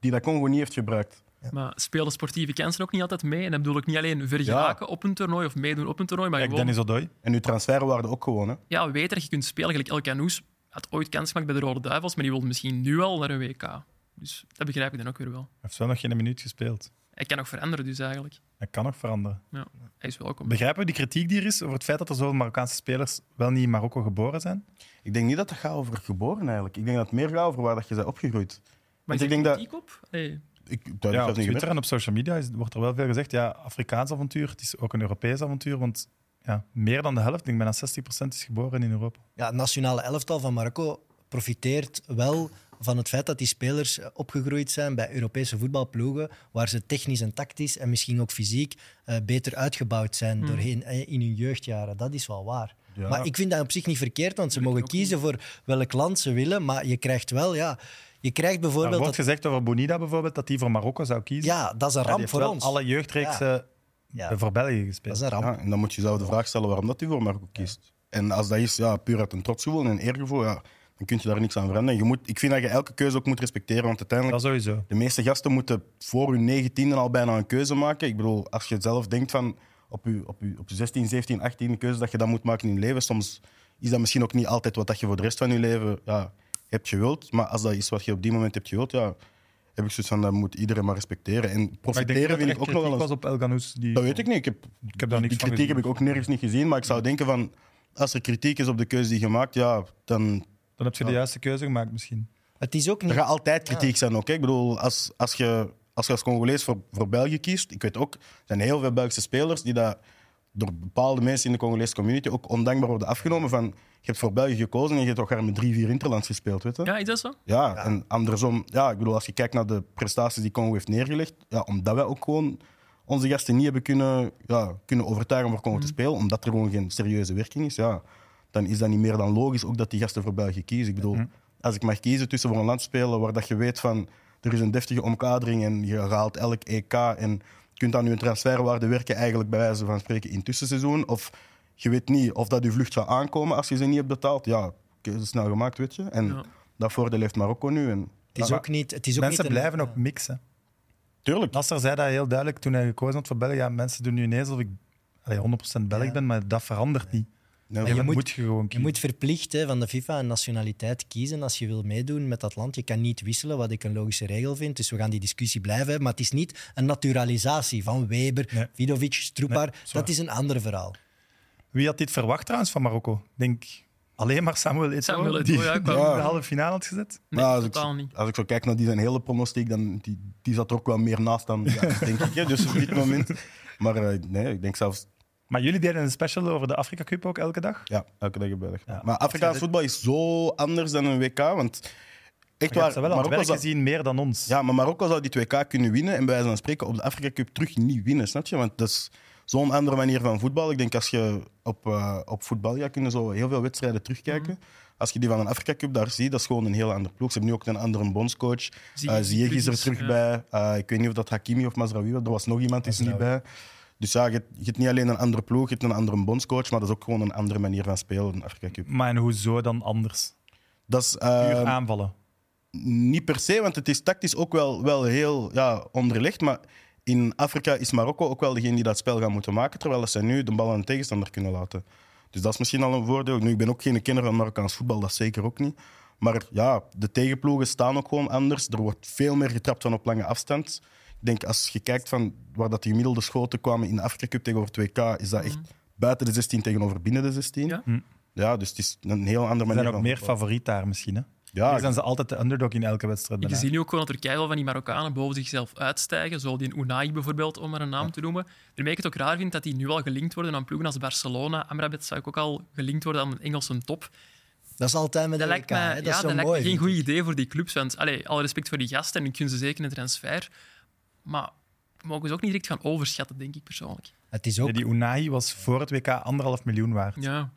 D: die dat Congo niet heeft gebruikt.
E: Maar speelden sportieve kansen ook niet altijd mee? En dat bedoel ik niet alleen vergeraken op een toernooi of meedoen op een toernooi, maar
A: Kijk,
E: gewoon
A: Dennis Odoi.
D: En uw transferwaarde ook gewoon, hè?
E: ja, weten dat je kunt spelen. Gelijk El Canoes had ooit kans gemaakt bij de Rode Duivels, maar die wilde misschien nu al naar een WK. Dus dat begrijp ik dan ook weer wel.
A: Hij heeft wel nog geen minuut gespeeld.
E: Hij kan nog veranderen dus eigenlijk.
A: Dat kan nog veranderen.
E: Ja, hij is welkom.
A: Begrijpen we die kritiek die er is over het feit dat er zoveel Marokkaanse spelers wel niet in Marokko geboren zijn?
D: Ik denk niet dat dat gaat over geboren eigenlijk. Ik denk dat het meer gaat over waar dat je bent opgegroeid.
E: Maar
D: Want
E: is
D: ik
E: er
D: denk dat.
E: kritiek op? Nee.
D: Ik,
A: Ja, op
D: dat heb ik zelf niet
A: Twitter
D: gemerkt.
A: en op social media is- wordt er wel veel gezegd. Ja, Afrikaans avontuur, het is ook een Europees avontuur. Want ja, meer dan de helft, ik denk bijna 60% is geboren in Europa.
B: Ja, het nationale elftal van Marokko profiteert wel van het feit dat die spelers eh, opgegroeid zijn bij Europese voetbalploegen, waar ze technisch en tactisch en misschien ook fysiek eh, beter uitgebouwd zijn doorheen eh, in hun jeugdjaren. Dat is wel waar.
D: Ja.
B: Maar ik vind dat op zich niet verkeerd, want ze mogen
E: ook
B: kiezen voor welk land ze willen, maar je krijgt wel, ja, je krijgt
A: Er
B: bijvoorbeeld...
A: wordt
B: dat-
A: gezegd over Bonida bijvoorbeeld, dat die voor Marokko zou kiezen.
B: ja, dat
A: Maar
B: is een
A: die
B: ramp
A: heeft
B: voor
A: wel
B: ons.
A: alle jeugdreeksen
B: Ja,
A: eh, voor België gespeeld.
B: dat is een ramp.
D: Ja, en dan moet je zelf de vraag stellen waarom dat hij voor Marco kiest. En als dat is ja, puur uit een trotsgevoel en een eergevoel, ja, dan kun je daar niks aan veranderen. Je moet, ik vind dat je elke keuze ook moet respecteren, want uiteindelijk
A: Dat sowieso.
D: De meeste gasten moeten voor hun negentiende al bijna een keuze maken. Ik bedoel, als je zelf denkt van... op je, op, je, op je 16, 17, 18 de keuze dat je dan moet maken in je leven. Soms is dat misschien ook niet altijd wat dat je voor de rest van je leven ja, hebt gewild. Maar als dat is wat je op die moment hebt gewild, ja, heb ik zoiets van dat moet iedereen maar respecteren. En
A: Maar ik denk
D: profiteren
A: dat
D: vind
A: er
D: ik
A: echt
D: ook nog
A: kritiek
D: wel
A: was op
D: eens.
A: El Ghanous. Die...
D: Dat weet ik niet. Ik heb,
A: Ik heb daar niks
D: die
A: van
D: kritiek heb ik
A: gezien.
D: ook nergens niet gezien. Maar ik zou denken van als er kritiek is op de keuze die je maakt, ja, dan,
A: Dan heb je de juiste keuze gemaakt misschien.
B: Het is ook
D: Er
B: niet...
D: gaat altijd kritiek zijn ook. hè. Ik bedoel, als, als, je, als je als Congolees voor, voor België kiest, ik weet ook, er zijn heel veel Belgische spelers die dat door bepaalde mensen in de Congolese community ook ondankbaar worden afgenomen van je hebt voor België gekozen en je hebt toch haar met drie, vier interlands gespeeld, weet je?
E: Ja, is dat zo?
D: Ja, en andersom, ja, ik bedoel, als je kijkt naar de prestaties die Congo heeft neergelegd, ja, omdat wij ook gewoon onze gasten niet hebben kunnen, ja, kunnen overtuigen om voor Congo te spelen, omdat er gewoon geen serieuze werking is, ja, dan is dat niet meer dan logisch ook dat die gasten voor België kiezen. Ik bedoel, als ik mag kiezen tussen voor een land spelen waar dat je weet van er is een deftige omkadering en je haalt elk EK en je kunt aan je transferwaarde werken, eigenlijk bij wijze van spreken in tussenseizoen, of je weet niet of dat je vlucht gaat aankomen als je ze niet hebt betaald, ja, keuze snel gemaakt, weet je. En
E: Ja.
D: dat voordeel heeft Marokko nu. En, Ah,
B: Het is ook niet... Het is ook
A: Mensen
B: niet een-
A: blijven ook mixen.
D: tuurlijk.
A: Nasser zei dat heel duidelijk toen hij gekozen had voor België. Ja, mensen doen nu ineens of ik allee, 100% Belg ben, maar dat verandert niet.
D: Ja,
A: En
B: je
A: dat
B: moet-
A: moet, je gewoon
B: Je
A: kiezen.
B: moet verplicht hè, van de FIFA een nationaliteit kiezen als je wil meedoen met dat land. Je kan niet wisselen, wat ik een logische regel vind. Dus we gaan die discussie blijven hebben. Maar het is niet een naturalisatie van Weber,
A: Nee.
B: Vidovic, Stroepaar.
A: Nee, zwaar.
B: dat is een ander verhaal.
A: Wie had dit verwacht trouwens van Marokko? Ik Denk alleen maar Samuel Eto'o,
E: Samuel Eto'o,
A: die,
E: ja,
A: *laughs*
E: ik
A: die
E: wou-
A: in de halve finale had gezet.
E: Nee,
D: Maar als
E: totaal
D: ik,
E: niet.
D: Als ik zo kijk naar die zijn hele pronostiek, dan die, die zat er ook wel meer naast dan, ja, denk ik. Hè. Dus op
A: *laughs*
D: dit moment. Maar eh, nee, ik denk zelfs
A: Maar jullie deden een special over de Afrika Cup ook elke dag.
D: ja, elke dag bij
A: Ja.
D: Maar Afrikaans
A: Ja.
D: voetbal is zo anders dan een WK. Want echt
A: Je hebt ze
D: waar,
A: wel aan het
D: Marokko
A: werk
D: zou,
A: gezien, meer dan ons.
D: ja, maar Marokko zou die 2K kunnen winnen en bij wijze van spreken op de Afrika Cup terug niet winnen, snap je? Want dat is zo'n andere manier van voetbal. Ik denk als je op, eh, op voetbal, ja, kunnen zo heel veel wedstrijden terugkijken. Als je die van een Afrika Cup daar ziet, dat is gewoon een heel andere ploeg. Ze hebben nu ook een andere bondscoach.
E: Zie-
D: Eh, Ziyech is er
E: Kritisch,
D: terug
E: ja.
D: bij. Eh, ik weet niet of dat Hakimi of Mazraoui was. Er was nog iemand die is er niet bij. Dus ja, je, hebt- je hebt niet alleen een andere ploeg, je hebt een andere bondscoach, maar dat is ook gewoon een andere manier van spelen, een Afrika Cup.
A: Maar en hoezo dan anders?
D: Dat is eh,
A: Puur aanvallen.
D: niet per se, want het is tactisch ook wel, wel heel ja, onderlegd, maar in Afrika is Marokko ook wel degene die dat spel gaan moeten maken, terwijl dat zij nu de bal aan de tegenstander kunnen laten. Dus dat is misschien al een voordeel. Nu, ik ben ook geen kenner van Marokkaans voetbal, dat zeker ook niet. Maar ja, de tegenploegen staan ook gewoon anders. Er wordt veel meer getrapt van op lange afstand. Ik denk, als je kijkt van waar dat die gemiddelde schoten kwamen in de Afrika Cup tegenover 2K, is dat echt buiten de 16 tegenover binnen de 16.
E: Ja.
D: Ja, dus het is een heel andere
A: Ze
D: manier
A: zijn ook
D: van
A: meer
D: voetbal.
A: favoriet daar misschien. Hè?
D: Ja,
A: Hier zijn ze altijd de underdog in elke wedstrijd.
E: Ik
A: bijna.
E: zie nu ook gewoon dat er keihard van die Marokkanen boven zichzelf uitstijgen. Zoals die in Unai bijvoorbeeld, om maar een naam te noemen. Waarmee ik het ook raar vind dat die nu al gelinkt worden aan ploegen als Barcelona. Amrabat zou ik ook al gelinkt worden aan een Engelse top.
B: Dat is altijd met
E: Dat
B: de
E: lijkt
B: WK,
E: me,
B: hè. Dat
E: ja,
B: is zo
E: dat lijkt
B: mooi.
E: me geen goed idee voor die clubs. Want, allee, alle respect voor die gasten en ik gun ze zeker een transfer. Maar we mogen ze ook niet direct gaan overschatten, denk ik persoonlijk.
B: Het is ook...
A: Ja, die Unai was voor het WK anderhalf miljoen waard.
E: Ja.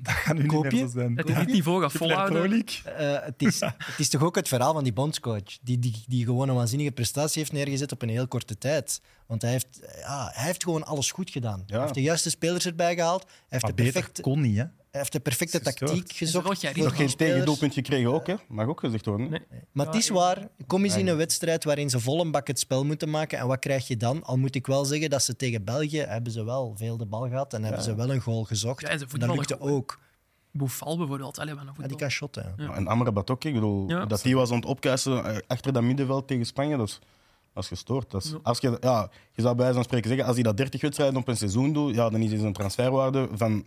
A: Dat gaat nu
B: Koop
A: niet
B: je?
A: meer zo zijn.
E: Dat
A: *laughs*
E: hij dit niveau gaat volhouden.
B: eh, het, is, het is toch ook het verhaal van die bondscoach, die, die, die gewoon een waanzinnige prestatie heeft neergezet op een heel korte tijd. Want hij heeft, eh, ja, hij heeft gewoon alles goed gedaan. Hij heeft de juiste spelers erbij gehaald, hij heeft, de
A: Maar beter
B: perfecte,
A: kon niet, hè?
B: hij heeft de perfecte
A: Is gestoord.
B: tactiek gezocht.
E: wel Gerrit
B: voor
E: nog
B: die
E: geen
D: Geen
B: spelers.
D: tegendoelpunt gekregen ook, hè? Mag ook gezegd worden.
E: Nee.
B: Maar het is waar, kom eens in een wedstrijd waarin ze vol een bak het spel moeten maken. En wat krijg je dan? Al moet ik wel zeggen dat ze tegen België hebben ze wel veel de bal gehad en hebben ze wel een goal gezocht.
E: Ja, en ze
B: en dat
E: voetballen
B: lukte
E: goed, hè.
B: ook.
E: Boefal bijvoorbeeld. Allee, wat een
B: Ja, Ah, die
E: voetbal.
B: kan shotten. ja.
D: En Amrabat ook, ik bedoel,
E: Ja.
D: dat die was aan het opkuisen eh, achter dat middenveld tegen Spanje, dat is, dat is gestoord. Dat is, als je, ja, je zou bij wijze van spreken zeggen, als hij dat 30 wedstrijden op een seizoen doet, ja, dan is hij zijn transferwaarde van,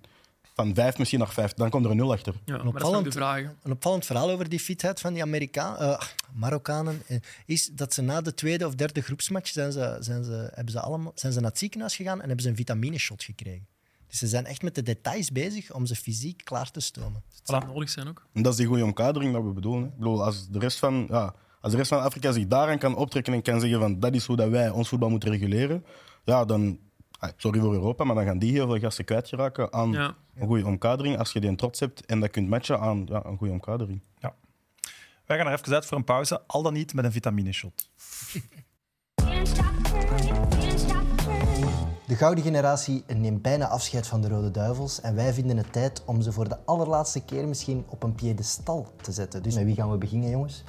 D: van 5 misschien naar 5. Dan komt er een 0 achter.
E: Ja, maar dat is ook de vraag. hè.
B: Een opvallend verhaal over die fitheid van die Amerikaan, eh, Marokkanen eh, is dat ze na de tweede of derde groepsmatch zijn ze, zijn ze, hebben ze allemaal, zijn ze naar het ziekenhuis gegaan en hebben ze een vitamineshot gekregen. Dus ze zijn echt met de details bezig om ze fysiek klaar te stomen.
E: Het zou nodig zijn ook.
D: En dat is die goede omkadering dat we bedoelen. Hè. Ik bedoel, als de rest van, ja, als de rest van Afrika zich daaraan kan optrekken en kan zeggen van dat is hoe dat wij ons voetbal moeten reguleren, ja, dan, ah, sorry voor Europa, maar dan gaan die heel veel gasten kwijtgeraken aan
E: Ja.
D: een goede omkadering als je die een trots hebt en dat kunt matchen aan ja, een goede omkadering.
A: Wij gaan er even uit voor een pauze, al dan niet met een vitamine-shot.
B: De gouden generatie neemt bijna afscheid van de Rode Duivels en wij vinden het tijd om ze voor de allerlaatste keer misschien op een piedestal te zetten. Dus met wie gaan we beginnen, jongens?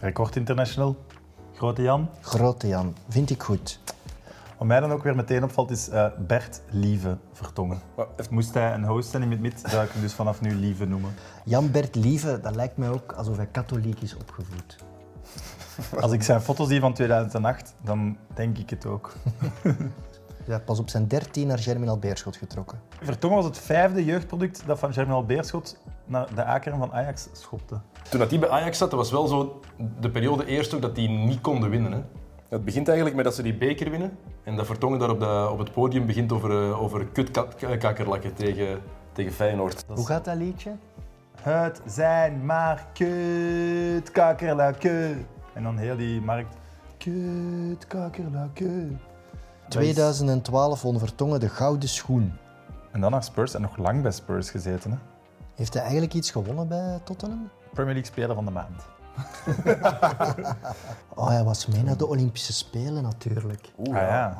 A: Record International, Grote Jan.
B: Grote Jan, vind ik goed.
I: Wat mij dan ook weer meteen opvalt is eh, Bert Lieve Vertongen. Moest hij een host zijn in Mid Mid, zou ik hem dus vanaf nu Lieve noemen.
B: Jan-Bert Lieve, dat lijkt mij ook alsof hij katholiek is opgevoed.
I: Als ik zijn foto's zie van 2008, dan denk ik het ook. *laughs*
B: Ja, pas op zijn 13 naar Germinal Beerschot getrokken.
I: Vertongen was het vijfde jeugdproduct dat van Germinal Beerschot naar de akeren van Ajax schopte.
J: Toen dat die bij Ajax zat, dat was wel zo de periode eerst ook dat die niet konden winnen. Hè. Het begint eigenlijk met dat ze die beker winnen en dat Vertongen daar op, de, op het podium begint over, eh, over kutkakkerlakken tegen, tegen Feyenoord.
B: Hoe gaat dat liedje?
I: Het zijn maar kut, kakkerlakken. En dan heel die markt. Kut, kakkerlakken.
B: 2012 won Vertongen de gouden schoen.
I: En dan naar Spurs en nog lang bij Spurs gezeten. Hè?
B: Heeft hij eigenlijk iets gewonnen bij Tottenham?
I: Premier League speler van de maand.
B: Oh, hij was mee naar de Olympische Spelen natuurlijk.
I: Oeh, ah, ja.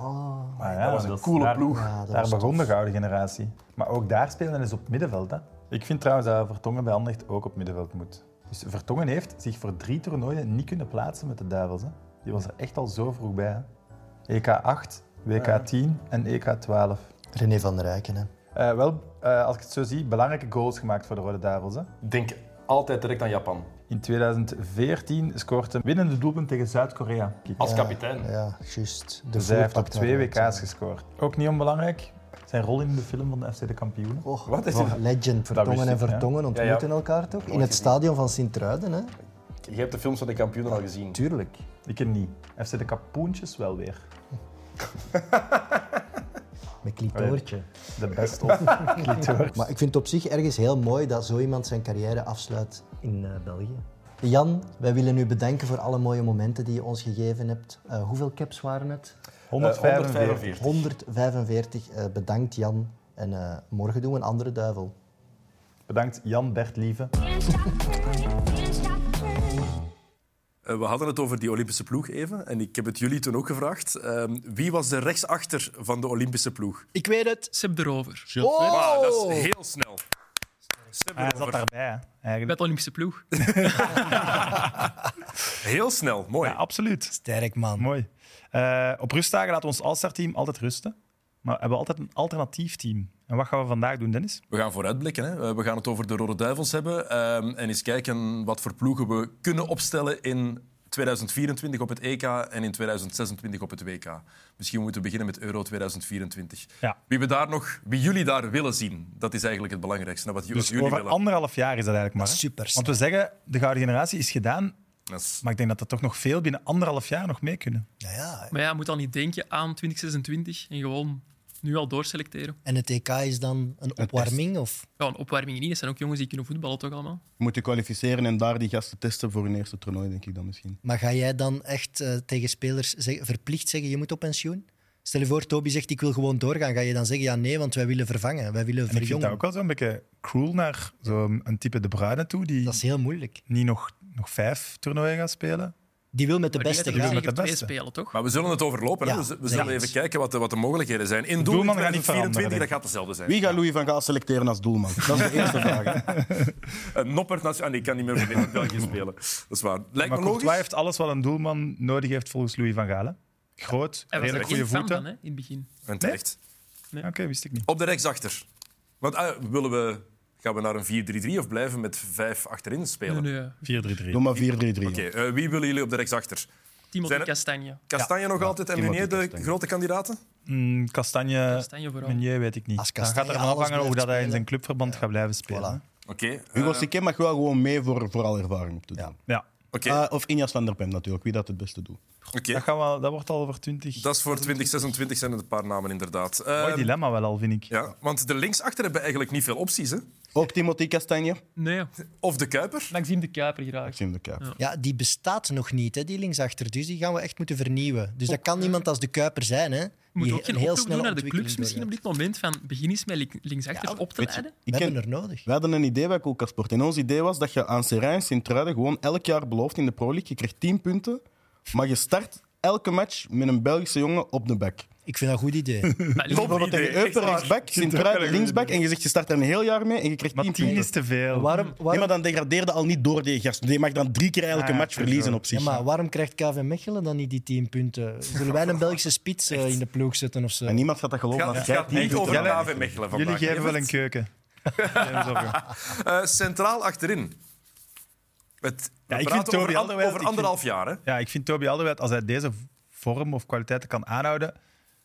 I: Ah, ja, dat was een coole ploeg.
B: Ja, dat
I: daar
B: was
I: begon de gouden generatie. Maar ook daar spelen is op middenveld. Hè? Ik vind trouwens dat Vertongen bij Anderlecht ook op middenveld moet. Dus Vertongen heeft zich voor drie toernooien niet kunnen plaatsen met de Duivels. Hè? Die was er echt al zo vroeg bij. Hè? E EK 8, WK 10 en E EK 12.
B: René van der Rijken, hè.
I: Eh, wel, eh, als ik het zo zie, belangrijke goals gemaakt voor de Rode Duivels. Hè?
J: Denk altijd direct aan Japan.
I: In 2014 scoort een winnende doelpunt tegen Zuid-Korea.
J: Als kapitein.
B: Ja, juist. De
I: Dus hij heeft op
B: voertak
I: twee
B: daaruit,
I: WK's gescoord. Ook niet onbelangrijk, zijn rol in de film van de FC de Kampioenen.
B: Oh,
J: Wat is
B: oh,
J: er-
B: Legend.
I: wist
B: Vertongen
I: ik,
B: en
I: ja.
B: Vertongen ontmoeten elkaar toch? In het stadion van Sint-Truiden, hè?
J: Je hebt de films van de kampioenen al gezien.
B: Tuurlijk.
I: Ik ken niet. FC de Kapoentjes wel weer.
B: Met clitoortje.
I: De
J: *laughs*
I: best op.
B: Maar ik vind het op zich ergens heel mooi dat zo iemand zijn carrière afsluit in eh, België. Jan, wij willen u bedanken voor alle mooie momenten die je ons gegeven hebt. Eh, hoeveel caps waren het?
J: Eh,
I: 145.
B: 145. Eh, bedankt Jan. En eh, morgen doen we een andere duivel.
I: Bedankt Jan Bert Lieve.
F: Eh, we hadden het over die Olympische ploeg even. En ik heb het jullie toen ook gevraagd. Ehm, wie was de rechtsachter van de Olympische ploeg?
E: Ik weet het. Seb de Rover.
F: Wow, dat is heel snel. Seb
A: Oh! Hij zat
F: erover.
A: daarbij, hè,
E: Bij
A: eigenlijk.
E: de Olympische ploeg.
F: Heel snel, mooi.
A: Ja, absoluut.
B: Sterk man.
A: Mooi. Eh, op rustdagen laten we ons All-Star-team altijd rusten. Maar we hebben altijd een alternatief team. En wat gaan we vandaag doen, Dennis?
F: We gaan vooruitblikken. Hè. Eh, We gaan het over de Rode Duivels hebben. ehm, en eens kijken wat voor ploegen we kunnen opstellen in 2024 op het EK en in 2026 op het WK. Misschien moeten we beginnen met Euro 2024.
A: Ja.
F: Wie, we daar nog, wie jullie daar willen zien, dat is eigenlijk het belangrijkste. Nou, Wat ju-
A: Dus
F: jullie
A: over
F: willen.
A: anderhalf jaar is dat eigenlijk maar. hè?
B: Super.
A: Want we zeggen, de gouden generatie is gedaan.
F: Dat is-
A: Maar ik denk dat er toch nog veel binnen anderhalf jaar nog mee kunnen.
B: Ja, ja.
E: Maar ja, je moet dan niet denken aan 2026 en gewoon nu al doorselecteren.
B: En het EK is dan een opwarming? Of?
E: Ja, een opwarming niet. Dat zijn ook jongens die kunnen voetballen toch allemaal.
D: Moet je kwalificeren en daar die gasten testen voor hun eerste toernooi, denk ik dan misschien.
B: Maar ga jij dan echt eh, tegen spelers zeg- verplicht zeggen, je moet op pensioen? Stel je voor, Toby zegt, ik wil gewoon doorgaan. Ga je dan zeggen, ja nee, want wij willen vervangen. Wij willen
A: En ik vind
B: verjongen.
A: dat ook wel zo'n beetje cruel naar zo'n een type De Bruyne toe, die
B: dat is heel moeilijk.
A: niet nog, nog vijf toernooien gaat spelen.
B: Die wil met de
E: Maar die
B: beste
E: gaat er
A: gaan.
B: gaan.
A: met de
E: zeker twee
A: beste.
E: spelen, toch?
F: Maar we zullen het overlopen. hè.
B: Ja,
F: we z- we
B: zeg
F: zullen
B: eens.
F: even kijken wat de, wat de mogelijkheden zijn. In doel
A: doelman gaat niet
F: 2024, dat
A: veranderen,
F: gaat dezelfde zijn.
D: Wie gaat Louis van Gaal selecteren als doelman? Dat is de eerste vraag. hè.
F: Een noppert nationaal... Ah, nee, ik kan niet meer voor België
A: *laughs*
F: spelen. Dat is waar. Lijkt
A: Maar
F: me logisch.
A: Courtois heeft alles wat een doelman nodig heeft volgens Louis van Gaal. hè. Groot,
E: Hij was er
A: redelijk goede
E: geen fan
A: voeten.
E: van, hè, in het begin.
F: En terecht.
A: Oké, wist ik niet.
F: Op de rechtsachter. Want ah, willen we, gaan we naar een 4-3-3 of blijven met vijf achterin spelen?
E: Nee, nee.
A: 4-3-3.
D: Doe maar 4-3-3.
F: Oké, eh, wie willen jullie op de rechtsachter?
E: Timothy
F: Zijn er-
E: Castagne.
F: Kastanje nog altijd en
D: Timothy
F: Meunier, de
D: Kastanje.
F: grote kandidaten?
A: Mm, Kastanje,
E: Castagne vooral.
A: Meunier weet ik niet.
B: Als
A: Dan gaat
B: Kastanje
A: er maar
B: alles
A: afhangen hoe
B: blijft
A: dat hij in
B: spelen.
A: zijn clubverband gaat blijven spelen.
B: Voilà.
F: Oké. eh,
D: Hugo Sique mag wel gewoon mee voor, voor al ervaring op te doen.
A: Ja,
F: Oké,
D: Ah, of Injas van der Pem natuurlijk, wie dat het beste doet.
F: oké.
A: dat, gaan we, dat wordt al over 20.
F: dat is voor 2026 zijn er een paar namen inderdaad. Eh,
A: Mooi dilemma wel al, vind ik.
F: ja, want de linksachter hebben eigenlijk niet veel opties. Hè?
D: Ook Timothy Castagne.
E: Nee,
F: Of de Kuiper.
E: Maxime de Kuiper graag.
D: Tim de Kuip.
B: Ja, die bestaat nog niet, hè, die linksachter. Dus die gaan we echt moeten vernieuwen. Dus dat kan iemand als de Kuiper zijn. Hè,
E: Je Oh, moet
B: die
E: ook geen
B: een
E: oproep doen naar de
B: ontwikkeling
E: clubs misschien op
B: doorgaat.
E: dit moment van begin eens met link- linksachters op te
D: weet je,
E: leiden.
D: Ik
B: We
D: ken-
B: hebben er
E: *laughs*
B: nodig.
D: Wij hadden een idee bij Koelkasport. En ons idee was dat je aan Serijn en Sint-Truiden gewoon elk jaar belooft in de Pro League. Je krijgt 10 punten, maar je start elke match met een Belgische jongen op de bek.
B: Ik vind dat een goed
E: *laughs*
B: idee.
E: Maar
D: Bijvoorbeeld tegen Eupen rechtsback, Sint-Truiden linksback en je zegt je start er een heel jaar mee en je krijgt
A: Maar
D: 10
A: tien
D: punten.
A: is te veel.
B: waarom,
D: Nee,
B: waarom,
D: maar dan degradeerde al niet door de gast. Die mag dan drie keer eigenlijk
A: Ah,
D: een match
A: sowieso.
D: verliezen op zich.
B: ja, maar waarom krijgt KV Mechelen dan niet die 10
E: *laughs*
B: punten? Zullen wij een Belgische spits eh, in de ploeg zetten of zo?
D: En niemand gaat dat
F: Het
D: geloven.
F: gaat,
D: als jij
F: het gaat niet
D: doet,
F: over
D: hè.
A: Jelle,
F: KV Mechelen vandaag.
A: Jullie geven wel een
F: Evert.
A: keuken. James Overgang.
F: Eh, Centraal achterin. Het, we
A: Ja, ik
F: praten
A: vind Toby
F: over, an-
A: Alderweireld,
F: over
A: ik vind-
F: anderhalf jaar. Hè?
A: Ja, ik vind Toby Alderweireld, als hij deze vorm of kwaliteiten kan aanhouden,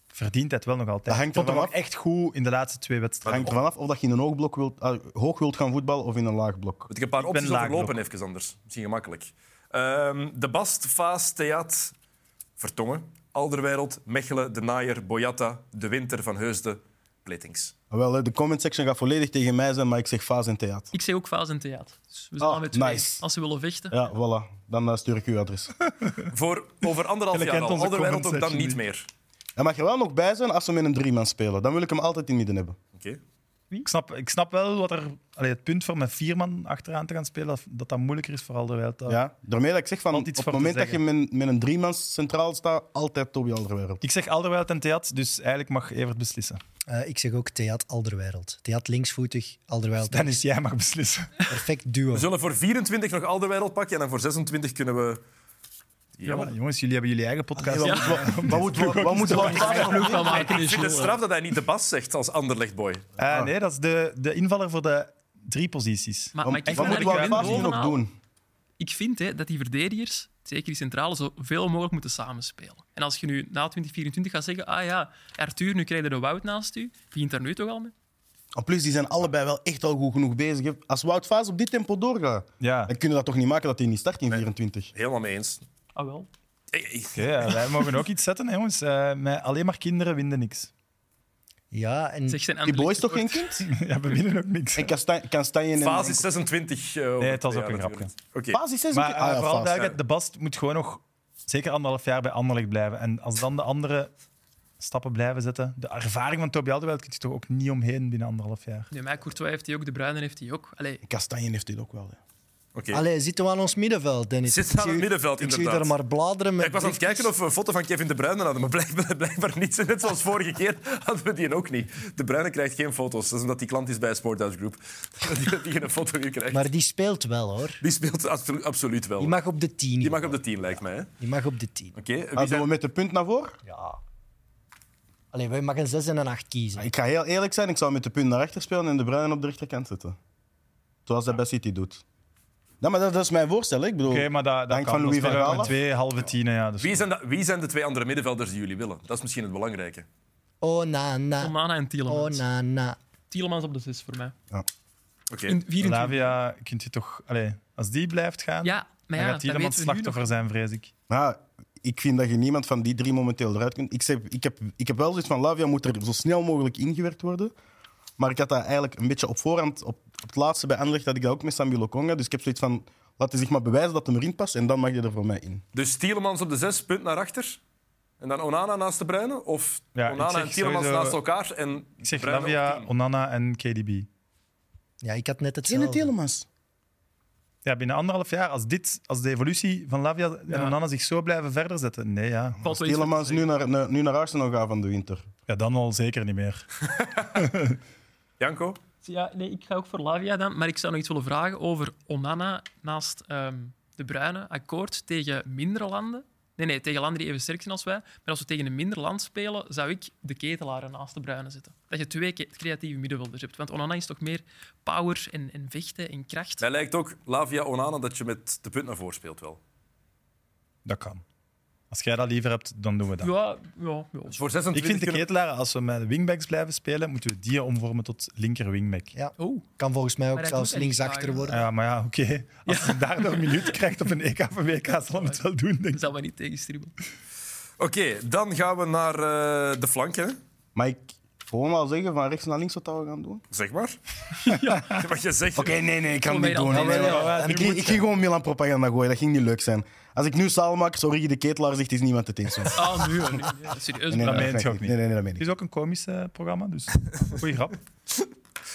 A: verdient hij het wel nog altijd.
D: Dat hangt
A: ik vond hem
D: ervan
A: ook echt goed in de laatste twee wedstrijden.
D: hangt ervan af of dat je in een hoog blok wilt, ah, hoog wilt gaan voetballen of in een laag blok.
F: Moet ik een paar
A: Ik ben
F: opties overlopen,
A: laagblok.
F: even anders. Misschien gemakkelijk. Ehm, de Bast, Vaas, Theat, Vertongen, Alderwereld, Mechelen, De Naaier, Boyata, De Winter, Van Heusden, Pletings.
D: Wel, hè, de comment section gaat volledig tegen mij zijn, maar ik zeg Faas en Theat.
E: Ik zeg ook Vaas en Theater. Dus we zijn
D: Ah,
E: met twee.
D: nice.
E: Als ze willen vechten.
D: Ja, voilà. Dan eh, stuur ik uw adres.
F: Voor over anderhalf
A: Jullie
F: jaar
A: kent
F: al.
A: onze
F: Alderwereld ook
A: comment
F: dan niet
A: section
F: meer.
D: Hij mag er wel nog bij zijn als ze met een drieman spelen. Dan wil ik hem altijd in midden hebben.
F: Oké.
A: Ik snap, ik snap wel wat er, allee, het punt voor met vier man achteraan te gaan spelen, dat dat, dat moeilijker is voor Alderweireld. Dat-
D: Ja? Daarmee dat ik zeg, van, op
A: Valt iets
D: het
A: voor te
D: moment dat je met, met een drieman centraal staat, altijd Toby Alderweireld.
A: Ik zeg Alderweireld en Theat, dus eigenlijk mag Evert beslissen.
B: Eh, ik zeg ook Theat Alderwereld. Theat linksvoetig, Alderwereld
A: Dan is jij mag beslissen.
B: perfect duo.
F: We zullen voor 24 nog Alderwereld pakken en dan voor 26 kunnen we...
A: *laughs* Ja, jongens, jullie hebben jullie eigen podcast.
D: Allee, wat- wat- Wat moeten we- wat moeten we...
E: Ploeg van maken
F: Ik
E: is eh,
F: vind het
E: Jules,
F: straf dat hij niet de Bas zegt als Anderlechtboy.
A: Eh, nee, dat is de, de invaller voor de drie posities.
E: Maar, maar ik vind
D: Wat moeten we
E: eigenlijk
D: aan Faas hier
E: bovenaan-
D: nog doen?
E: Ik vind hè, dat die verdedigers, zeker die centrale, zoveel mogelijk moeten samenspelen. En als je nu na 2024 gaat zeggen, ah ja, Arthur, nu krijg je de Wout naast u, begint daar nu toch al mee?
D: En plus, die zijn allebei wel echt al goed genoeg bezig. hè. Als Wout Vaas op dit tempo doorgaat,
A: Ja,
D: dan kunnen we dat toch niet maken dat hij niet start in 24.
F: Helemaal mee eens. Eh,
E: Ah wel.
F: Hey, hey.
A: oké, ja, wij mogen ook iets zetten, hè, jongens. Eh, met alleen maar kinderen winnen niks.
B: Ja, en
E: Zeg, zijn
D: Die boy is
E: Anderlecht
D: toch geen
E: tekort.
D: kind?
A: *laughs* ja, we winnen ook niks.
D: En Kasta- Kastanjen en...
F: Faas is 26. eh, over
A: Nee, het was
F: twee
A: ook
F: jaar
A: een
F: natuurlijk. Oké.
D: Faas is 26.
A: Maar eh,
D: Ah, ja,
A: vooral
D: Faas.
A: duidelijk, de Bast moet gewoon nog zeker anderhalf jaar bij Anderlecht blijven. En als dan de andere stappen blijven zetten, de ervaring van Toby Alderweireld kun je toch ook niet omheen binnen anderhalf jaar.
E: Nee, maar Courtois heeft die ook, De Bruyne heeft die ook. Allee,
D: Kastanjen heeft dit ook wel. hè. Ah,
F: Oké.
B: Allee, zitten we aan ons middenveld, Dennis?
F: Zitten
B: Ik
F: we aan
B: zie
F: het
B: u-
F: middenveld,
B: Ik zie u
F: inderdaad.
B: daar maar bladeren met
F: Ik was aan het kijken of we een foto van Kevin De Bruyne hadden, maar blijkbaar, *laughs* blijkbaar niet. Net zoals vorige keer hadden we die ook niet. De Bruyne krijgt geen foto's. Dat is omdat hij klant is bij Sportdouche Group. *laughs* Dat hij geen foto hier krijgt.
B: Maar die speelt wel, hoor.
F: Die speelt absolu- absoluut wel.
B: Die mag op de 10.
F: Die mag op de 10, lijkt mij. hè.
B: Die mag op de 10.
F: Oké, wie
D: Ah,
F: zijn-
D: doen we met de punt naar voren?
B: Allee, wij mag een 6 en een 8 kiezen.
F: Ah,
D: Ik ga heel eerlijk zijn, ik zou met de punt naar achter spelen en de Bruinen op de rechterkant zetten. Zoals dat bij City doet. Ja, maar dat, dat is mijn voorstel. hè. Ik bedoel,
A: Oké, maar dat, dat
D: Dank
A: kan.
D: van
A: Dan
D: Louis van
A: spelen we
D: Gaal
A: met
D: af.
A: twee halve tienen, ja. Dus
F: wie, zijn de, wie zijn de twee andere middenvelders die jullie willen? Dat is misschien het belangrijke.
B: Oh, na, na.
E: Onana en Tielemans.
B: Oh, na, na.
E: Tielemans op de 6 voor mij.
F: Oké.
E: In 24.
A: Lavia kunt je toch... Allee, als die blijft gaan,
E: Ja, maar
A: dan
E: ja,
A: gaat iemand
E: dat weten we nu nog.
A: slachtoffer zijn, vrees ik.
D: maar Nou, ik vind dat je niemand van die drie momenteel eruit kunt. Ik, zeg, ik, heb, ik heb wel zoiets van, Lavia moet er zo snel mogelijk ingewerkt worden. Maar ik had dat eigenlijk een beetje op voorhand, op, op het laatste bij Anderlecht, dat ik dat ook met Samuel Okonga. Dus ik heb zoiets van, laat hij zich maar bewijzen dat hem erin past en dan mag je er voor mij in.
F: Dus Tielemans op de 6, punt naar achter. En dan Onana naast De Bruyne? Of
A: Ja, ik
F: Onana
A: zeg
F: en Tielemans
A: sowieso-
F: naast elkaar? En
A: Ik zeg
F: Bruyne op
A: Lavia,
F: 10?
A: Onana en KDB.
B: Ja, ik had net
D: In het
B: hetzelfde.
D: Telemans.
A: Ja, binnen anderhalf jaar, als, dit, als de evolutie van Lavia en
E: Ja.
A: Onana zich zo blijven verder zetten, nee, ja.
E: Valt wel iets voor te
D: Telemans
E: zeggen.
D: nu naar, naar- nu naar Arsenal gaan van de winter.
A: Ja, dan al zeker niet meer.
F: Janko?
E: Ja, nee, ik ga ook voor Lavia dan. Maar ik zou nog iets willen vragen over Onana naast ehm, De Bruyne. Akkoord tegen mindere landen. Nee, nee, tegen landen die even sterk zijn als wij. Maar als we tegen een minder land spelen, zou ik de ketelaren naast De Bruyne zetten. Dat je twee ke- creatieve middenvelders hebt. Want Onana is toch meer power en, en vechten en kracht.
F: Mij lijkt ook Lavia Onana dat je met de punt naar voren speelt wel.
A: Dat kan. Als jij dat liever hebt, dan doen we dat.
E: Ja, ja, ja.
F: Dus Voor 26
A: Ik vind de
F: kunnen-
A: ketelaar, als we met de wingbacks blijven spelen, moeten we die omvormen tot linker wingback. Ja,
B: Ja.
E: Oh,
B: Kan volgens mij
E: Maar
B: ook
E: dat
B: zelfs
E: doet hij niet
B: linksachter
E: vaak, hè?
B: worden.
A: maar ja, oké. Als hij daardoor een minuut krijgt op een EK van WK, zal hij het wel doen, denk
E: dat
A: ik.
E: zou mij niet tegenstribbelen.
F: Oké, dan gaan we naar eh, de flank, hè?
D: Maar ik gewoon al zeggen van rechts naar links wat dat we gaan doen.
A: *laughs*
F: Zeg maar. ja. *laughs* Wat je zegt.
D: Oké, nee, nee, ik kan
E: Kom
D: het
E: mee
D: niet
E: dan.
D: doen.
E: Nee,
D: Nee,
E: nee,
D: nee,
A: nee.
D: En ik, ging- ik ging gewoon Milan propaganda gooien, dat ging niet leuk zijn. Als ik nu Salemakers, Origi de Ketelaar zegt, is niemand
E: *laughs*
D: het eens. Nee,
E: Ah, nu. nu, nu. Serieus,
D: nee,
A: dat
E: Bruyne.
A: meent je ook
D: ik
A: niet.
D: Nee, nee, nee, dat meen
A: Het
D: ik.
A: is ook een komisch eh, programma, dus *laughs* goeie grap.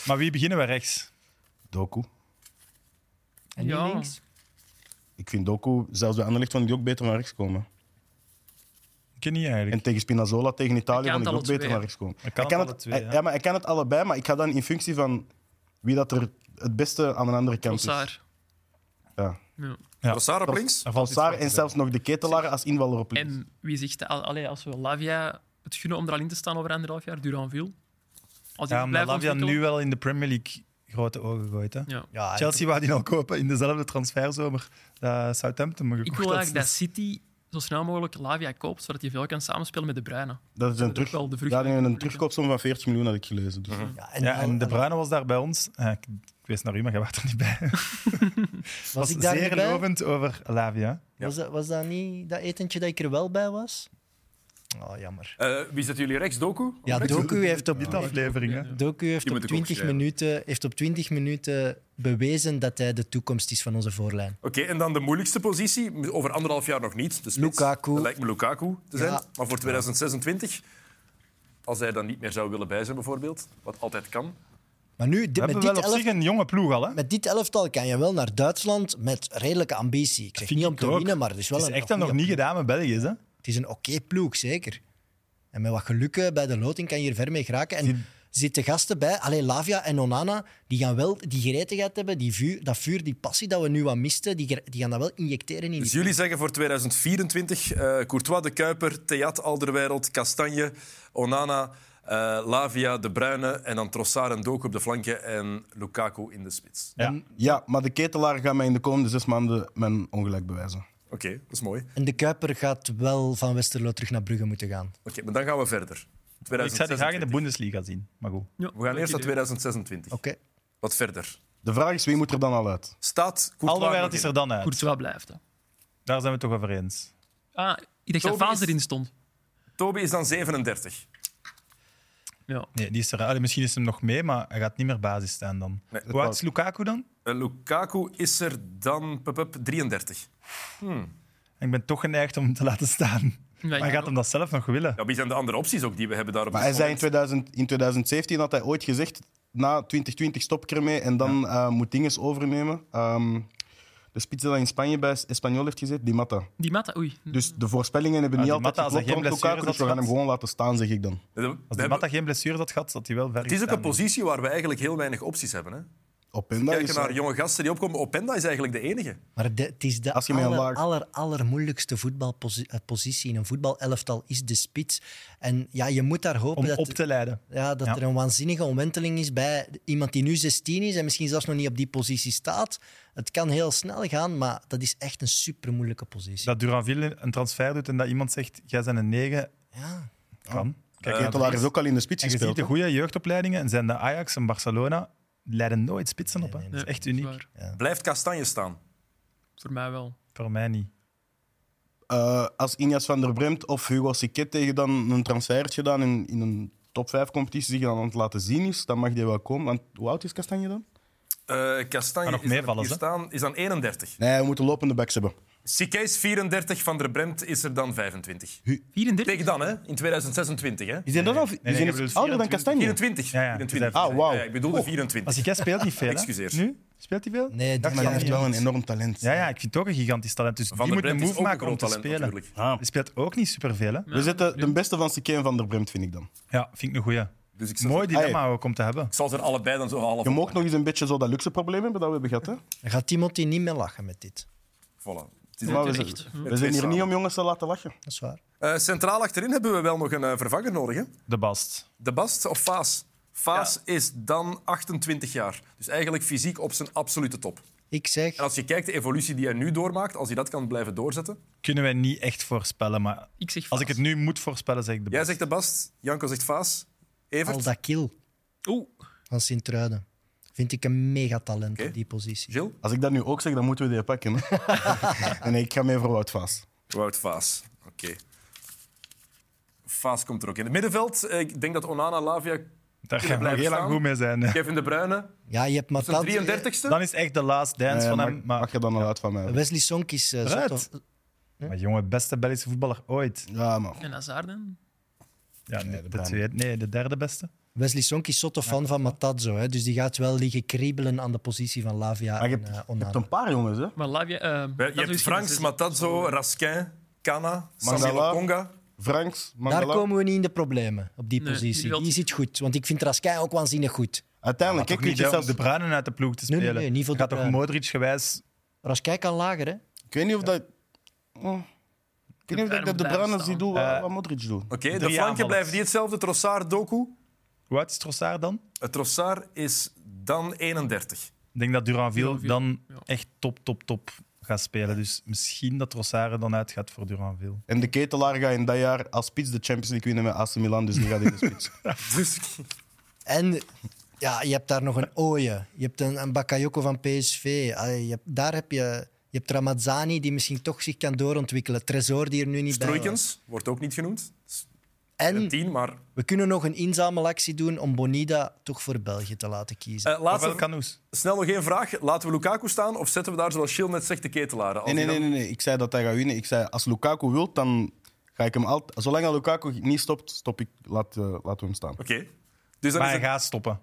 A: Maar wie beginnen we rechts?
D: Doku.
B: En die
E: Ja.
B: links.
D: Ik vind Doku, zelfs bij Anderlecht, vond ik die ook beter van rechts komen.
A: ken niet eigenlijk.
D: En tegen Spinazzola, tegen Italië,
E: Hij kan
D: vond ik ook
E: het alle
D: beter
E: twee,
D: naar
E: hè?
D: rechts komen.
A: Hij kan
D: Hij
A: het alle twee,
D: hij-
A: ja.
D: ja. maar hij kan het allebei, maar ik ga dan in functie van wie dat er het beste aan de andere kant is.
E: Trossard.
D: Ja.
E: Ja.
A: Ja.
F: Trossard op links.
A: Daar valt iets
D: Trossard
A: voor
D: en
A: te
D: zelfs nog de ketelaar als invaller op links.
E: En wie zegt, al- allee, als we Lavia het gunnen om er al in te staan over anderhalf jaar, Duranville.
A: zeggen.
E: Als hij
A: Ja,
E: blijft
A: maar Lavia
E: ontwikkelen-
A: nu wel in de Premier League grote ogen gooit. Hè?
E: Ja.
B: Ja,
A: Chelsea wou die al kopen in dezelfde transferzomer dat Southampton me
E: Ik
A: gekocht
E: wil
A: had.
E: eigenlijk dat City zo snel mogelijk Lavia koopt, zodat hij veel kan samenspelen met de Bruyne.
D: Dat is een, terug,
E: wel de vruchten
D: ja, nee, een
E: natuurlijk, hè.
D: terugkoopsom van 40 miljoen, had ik gelezen.
E: Mhm.
D: Dus.
B: Ja,
A: Ja, en De
B: en-
A: Bruyne was daar bij ons. Eh, ik, ik wees naar u, maar jij was er niet bij.
B: was
A: was
B: ik daar
A: zeer
B: niet bij?
A: lovend over Lavia.
B: Was, dat, was dat niet dat etentje dat ik er wel bij was? Oh, jammer.
F: Eh, wie zitten jullie rechts? Doku?
B: Ja, Doku heeft op,
A: Dit aflevering, hè.
B: Doku heeft
F: Die
B: op,
F: moet ik ook
B: 20
F: schrijven.
B: minuten, heeft op 20 minuten bewezen dat hij de toekomst is van onze voorlijn.
F: Oké, en dan de moeilijkste positie. Over anderhalf jaar nog niet. De spits.
B: Lukaku.
F: Dat lijkt me Lukaku te zijn.
B: Ja.
F: Maar voor 2026, als hij dan niet meer zou willen bij zijn, bijvoorbeeld, wat altijd kan.
B: Maar nu,
A: We
B: dit, met,
A: hebben
B: dit
A: wel op zich
B: elf,
A: een jonge ploeg al, hè.
B: met dit elftal kan je wel naar Duitsland met redelijke ambitie. Ik zeg
A: vind
B: niet om
A: ik
B: te
A: ook.
B: winnen, maar het is wel
A: Het is
B: een
A: echt dat nog
B: goeie-
A: niet gedaan met België, hè.
B: Het is een oké ploeg, zeker. En met wat gelukken bij de loting kan je hier ver mee geraken. En zitten gasten bij, alleen Lavia en Onana, die gaan wel die gretigheid hebben, die vuur, dat vuur, die passie dat we nu wat misten, die, ger- die gaan dat wel injecteren in
F: Dus
B: die...
F: jullie zeggen voor 2024 eh, Courtois, De Kuiper, Theat, Alderweireld, Kastanje, Onana, eh, Lavia, De Bruyne en dan Trossard en Doku op de flanken en Lukaku in de spits.
A: Ja.
D: Ja, maar de ketelaar gaat mij in de komende zes maanden mijn ongelijk bewijzen.
F: Oké, dat is mooi. Oké,
B: En de Kuiper gaat wel van Westerlo terug naar Brugge moeten gaan.
F: maar dan gaan we verder.
A: Ik zou die graag in de
F: 2026.
A: Bundesliga Oh. zien, maar goed.
F: We gaan eerst naar 2026.
B: Oké.
F: Wat verder?
D: De vraag is, wie moet er dan al uit?
F: Staat Courtois
A: Alle wereld
F: nog
A: is
F: in?
A: er dan uit.
E: Courtois blijft. hè.
A: Daar zijn we het toch over eens.
E: Ah, ik dacht dat
F: Toby
E: Vaas
F: is-
E: erin stond.
F: Toby is dan 37.
E: Ja.
A: Nee, die is er, allee, misschien is hem nog mee, maar hij gaat niet meer basis staan dan.
F: Nee,
A: Hoe oud is Lukaku dan?
F: Eh, Lukaku is er dan pup, pup, 33.
A: Ik ben toch geneigd om hem te laten staan.
E: Ja,
A: Maar
E: ja.
A: gaat hem dat zelf nog willen?
F: Ja, wie zijn de andere opties ook die we hebben daarop?
D: Maar hij zei in, 2000, in 2017 had hij ooit gezegd, na 2020 stop ik ermee en dan eh, moet dinges overnemen. Ehm, de spits die in Spanje bij Espanyol heeft gezet, die Matta.
E: Die Mata, oei.
D: Dus de voorspellingen hebben
A: Ah,
D: niet
A: die
D: altijd
A: Mata, als hij
D: geklopt
A: geen
D: rond Lukaku,
A: blessures
D: dus we gaan
A: had
D: hem gewoon laten staan, zeg ik dan.
F: Eh, We
A: Als
F: hebben-
A: de Matta geen blessure had gehad, zat hij wel ver
F: Het is ook een
A: gestaan.
F: positie waar we eigenlijk heel weinig opties hebben. Hè?
D: Openda
F: Kijken
D: is...
F: naar jonge gasten die opkomen. Openda is eigenlijk de enige.
B: Maar de- het is de
D: Als je met een
B: aller,
D: laag-
B: aller, allermoeilijkste voetbalpositie in een voetbalelftal is de spits. En ja, je moet daar hopen
A: Om
B: dat...
A: op te leiden.
B: Ja, dat
A: Ja.
B: er een waanzinnige omwenteling is bij iemand die nu 16 is en misschien zelfs nog niet op die positie staat. Het kan heel snel gaan, maar dat is echt een super moeilijke positie.
A: Dat Duranville een transfer doet en dat iemand zegt, jij bent een 9,
B: Ja.
F: Oh.
A: kan.
D: Kijk, Ketelaar is ook al in de spits
A: eh, En je ziet
D: gespeeld.
A: de
D: hè.
A: goede jeugdopleidingen, en zijn de Ajax en Barcelona, leiden nooit spitsen op. Hè.
B: nee,
A: Dat is echt
E: dat is
A: uniek.
E: waar.
F: Blijft Kastanje staan.
E: Voor mij wel.
A: Voor mij niet.
D: Eh, als Injas van der Bremt of Hugo Siquet tegen dan een transfer heeft gedaan in, in een top 5 competitie die je dan aan het laten zien is, dan mag die wel komen. Want hoe oud is Kastanje dan?
F: Eh Kastanje
A: nog
F: is, dan
A: meevallers,
F: hier
A: hè?
F: staan, is dan 31.
D: Nee, we moeten lopende backs hebben.
F: Sikke is 34, Van der Bremt is er dan 25.
E: 34?
F: Tegen dan, hè? in 2026. Hè?
D: Die zijn dan al die
A: nee,
D: zijn
A: ik bedoel
D: ouder
A: 24.
D: dan Kastanje.
F: 24.
A: Ja, ja,
F: 24.
D: Ah, wauw.
F: Ja, ik bedoelde 24.
A: Oh, Als ik jij speelt niet veel. hè?
F: Excuseer.
A: Nu? Speelt hij veel?
B: Nee, dit
A: Dacht
B: jaar
A: ik
D: Hij
B: niet.
D: heeft wel een enorm talent.
A: Ja, ja, ik vind het ook een gigantisch talent. Dus
F: Van
A: die
F: der
A: moet een
F: Bremt is
A: move
F: ook
A: maken
F: een
A: om
F: groot
A: te
F: talent
A: spelen.
F: natuurlijk.
D: Ah.
A: Hij speelt ook niet superveel. Hè?
D: We zetten de beste van Siquet en van der Bremt, vind ik dan.
A: Ja, vind ik een goeie.
F: Dus ik zal,
A: Mooi dilemma
D: Hey.
A: ook om te hebben.
F: ik zal ze er allebei dan zo half
D: Je mag nog eens een beetje zo dat luxe probleem hebben dat we hebben gehad. Hè?
B: Dan gaat Timothy niet meer lachen met dit.
F: Voilà. Het is
D: Maar we,
E: terecht.
D: zijn, we zijn hier niet om jongens te laten lachen.
B: Dat is waar.
F: Eh, centraal achterin hebben we wel nog een eh, vervanger nodig. Hè?
A: De Bast.
F: De Bast of Faas? Faas is dan 28 jaar. Dus eigenlijk fysiek op zijn absolute top.
B: Ik zeg,
F: En als je kijkt de evolutie die hij nu doormaakt, als hij dat kan blijven doorzetten.
A: Kunnen wij niet echt voorspellen, maar
E: Ik zeg
A: als ik
E: Vaas.
A: het nu moet voorspellen, zeg ik de
F: Jij
A: Bast.
F: zegt De Bast, Janko zegt Faas. Evert,
B: Aldakil
E: Oeh,
B: van Sint-Truiden. Vind ik een megatalent
F: Oké.
B: op die positie.
F: Gilles,
D: Als ik dat nu ook zeg, dan moeten we die pakken. Hè? *laughs* en ik ga mee voor Wout Vaas.
F: Wout Faas. Oké. Faas komt er ook in. Het middenveld, eh, ik denk dat Onana, Lavia,
A: Daar gaan
F: kunnen
A: we nog
F: blijven
A: heel lang
F: staan.
A: goed mee zijn.
F: Kevin De Bruyne,
B: Ja, je hebt maar
F: zijn
E: eh,
F: 33ste.
A: Dan is echt de last dance
D: Eh,
A: van
D: mag,
A: hem. Maar,
D: mag je dan al uit van mij? hebben?
B: Wesley Sonk is... eh,
A: Eruit.
B: zot of-
A: maar jongen, beste Belgische voetballer ooit.
D: Ja, maar
E: en Hazard dan?
A: Ja, nee, de,
D: Bruyne.
A: tweede, nee, de derde beste.
B: Wesley Sonk is zotte fan van Matazzo. Hè, dus die gaat wel liggen kriebelen aan de positie van Lavia
D: Maar je
B: en
D: hebt-
B: eh,
D: je hebt
B: Onana.
D: een paar jongens. Hè?
E: Maar Lavia... eh,
F: Je
E: dat is
F: hebt
E: misschien
F: Franks,
E: een zes-
F: Matazzo, Raskin, Kana, Samuel
D: Mangala.
F: Conga.
D: Franks,
B: Daar
D: Mangala.
B: komen we niet in de problemen op die
E: Nee,
B: positie.
E: die wil-
B: Die zit goed, want ik vind Raskai ook waanzinnig goed.
D: Uiteindelijk,
A: Kijk
D: kijk,
A: niet
D: weet je
A: hè, om
D: zelfs,
A: de Bruinen uit de ploeg te
B: Nee,
A: spelen.
B: nee, nee, niet voor
A: Gaat
B: De
A: toch
B: Bruyne.
A: Modric gewijs...
B: Raskai kan lager, hè?
D: ik weet niet of dat... Hm. Ik weet niet of
E: Bruyne
D: dat ik de
E: blijven
D: Bruiners die
E: staan.
D: doen
A: Eh,
D: wat, wat Modric doet.
F: Oké, de
A: Drie
F: flanken
A: aanvallers.
F: blijven die hetzelfde. Trossard, Doku.
A: Hoe oud is Trossard dan?
F: Het Trossard is dan 31.
A: Ik denk dat Duranville
E: Duranville,
A: dan
E: ja.
A: echt top, top, top gaat spelen. Dus misschien dat Trossard er dan uitgaat voor Duranville.
D: En de ketelaar gaat in dat jaar als spits de Champions League winnen met AC Milan, dus die gaat in de spits.
F: Dus
B: En ja, je hebt daar nog een Ooie. Je hebt een, een Bakayoko van PSV. Allee, je hebt, daar heb je... Je hebt Ramazzani, die misschien toch zich kan doorontwikkelen. Tresor, die er nu niet bij was.
F: Stroikens wordt ook niet genoemd.
E: Hmm.
F: Een
B: En
F: tien, maar... eh,
B: we kunnen nog een inzamelactie doen om Bonida toch voor België te laten kiezen.
F: Eh,
A: Ofwel
F: laatste,
A: Canoes.
F: snel nog één vraag. Laten we Lukaku staan of zetten we daar, zoals Schiel net zegt, de ketelaren?
D: Nee, nee, nee, nee, nee. Ik zei dat hij gaat winnen. Ik zei, als Lukaku wilt, dan ga ik hem altijd... Zolang dat Lukaku niet stopt, stop ik. Laat, eh, laten we hem staan.
F: Oké. Dus
A: Maar
F: dan is
A: hij
F: het...
A: gaat stoppen.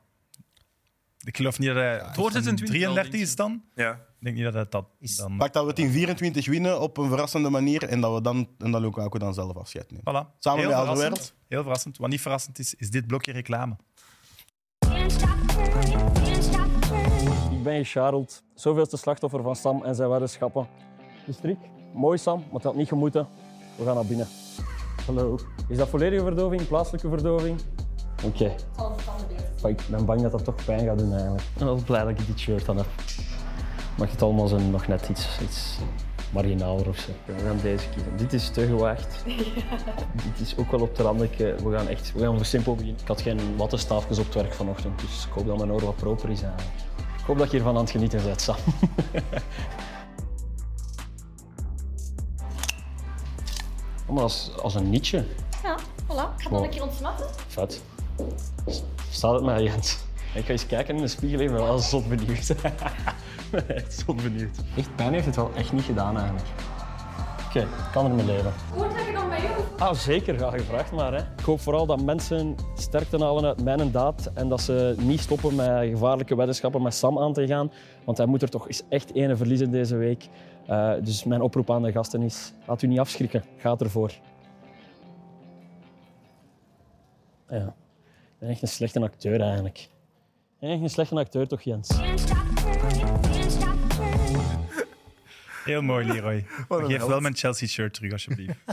A: Ik geloof niet dat hij...
E: wordt het in 20 wel,
A: 33
E: denk
A: is dan?
F: Ja.
A: Ik denk niet dat hij dat
B: Is-
A: dan...
D: Pak dat we het in 24 winnen op een verrassende manier en dat, we dan, en dat Lukaku dan zelf afscheid neemt.
A: Voilà.
D: Samen
A: Heel
D: met
A: verrassend.
D: Alderweireld.
A: Heel verrassend. Wat niet verrassend is, is dit blokje reclame.
K: Ik ben Gerald, zoveelste slachtoffer van Sam en zijn weddenschappen. De strik, mooi Sam, maar het had niet gemoeten. We gaan naar binnen. Hallo. Is dat volledige verdoving, plaatselijke verdoving? Oké. Maar Ik ben bang dat dat toch pijn gaat doen eigenlijk. Ik ben wel blij dat ik dit shirt aan heb. Mag het allemaal zo nog net iets, iets marginaler of zo. We gaan deze kiezen. Dit is te gewaagd. Dit is ook wel op de randen. eh, We gaan echt we gaan voor simpel beginnen. Ik had geen wattenstaafjes op het werk vanochtend, dus ik hoop dat mijn oor wat proper is eigenlijk. Ik hoop dat je hiervan aan het genieten bent, Sam. *laughs* Oh, maar als, als een nietje.
C: Ja, voilà. Ik ga dan een keer ontsnappen.
K: Vet. S- Staat het maar, Jens? Ik ga eens kijken in de spiegel, ik ben wel zot benieuwd. *laughs* Ik ben echt zot benieuwd. Echt pijn heeft het wel echt niet gedaan eigenlijk. Oké, ik kan er mee leven.
C: Hoort dat je dan bij jou?
K: Ah, zeker. Ja, gevraagd maar. Hè. Ik hoop vooral dat mensen sterkte halen uit mijn daad en dat ze niet stoppen met gevaarlijke weddenschappen met Sam aan te gaan. Want hij moet er toch eens echt ene verliezen deze week. Eh, dus mijn oproep aan de gasten is, laat u niet afschrikken. Gaat ervoor. Ja, ik ben echt een slechte acteur eigenlijk. Echt een slechte acteur toch, Jens?
A: Heel mooi, Leroy. Geef wel mijn Chelsea-shirt terug, alsjeblieft. *laughs*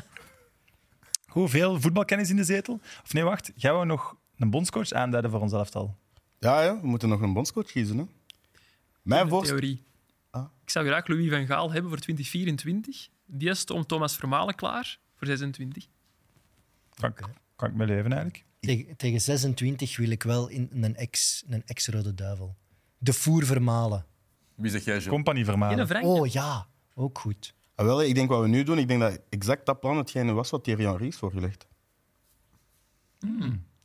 A: Goed, veel voetbalkennis in de zetel. Of nee, wacht. Gaan we nog een bondscoach aanduiden voor ons elftal?
D: Ja, ja, we moeten nog een bondscoach kiezen. Hè. Mijn voorstel...
E: theorie.
A: Ah.
E: Ik zou graag Louis van Gaal hebben voor 2024. Die is om Thomas Vermalen klaar voor 26.
A: Kan, ik- kan ik me leven, eigenlijk?
B: Tegen, tegen 26 wil ik wel in een ex- een ex-rode duivel. De voer vermalen.
F: Wie zeg jij, Gilles?
A: Compagnie
E: In een
A: vermalen.
E: Frank.
B: Oh ja, ook goed.
D: Ah, wel, ik denk wat we nu doen, ik denk dat exact dat plan hetgene was wat Thierry Henry is voorgelegd.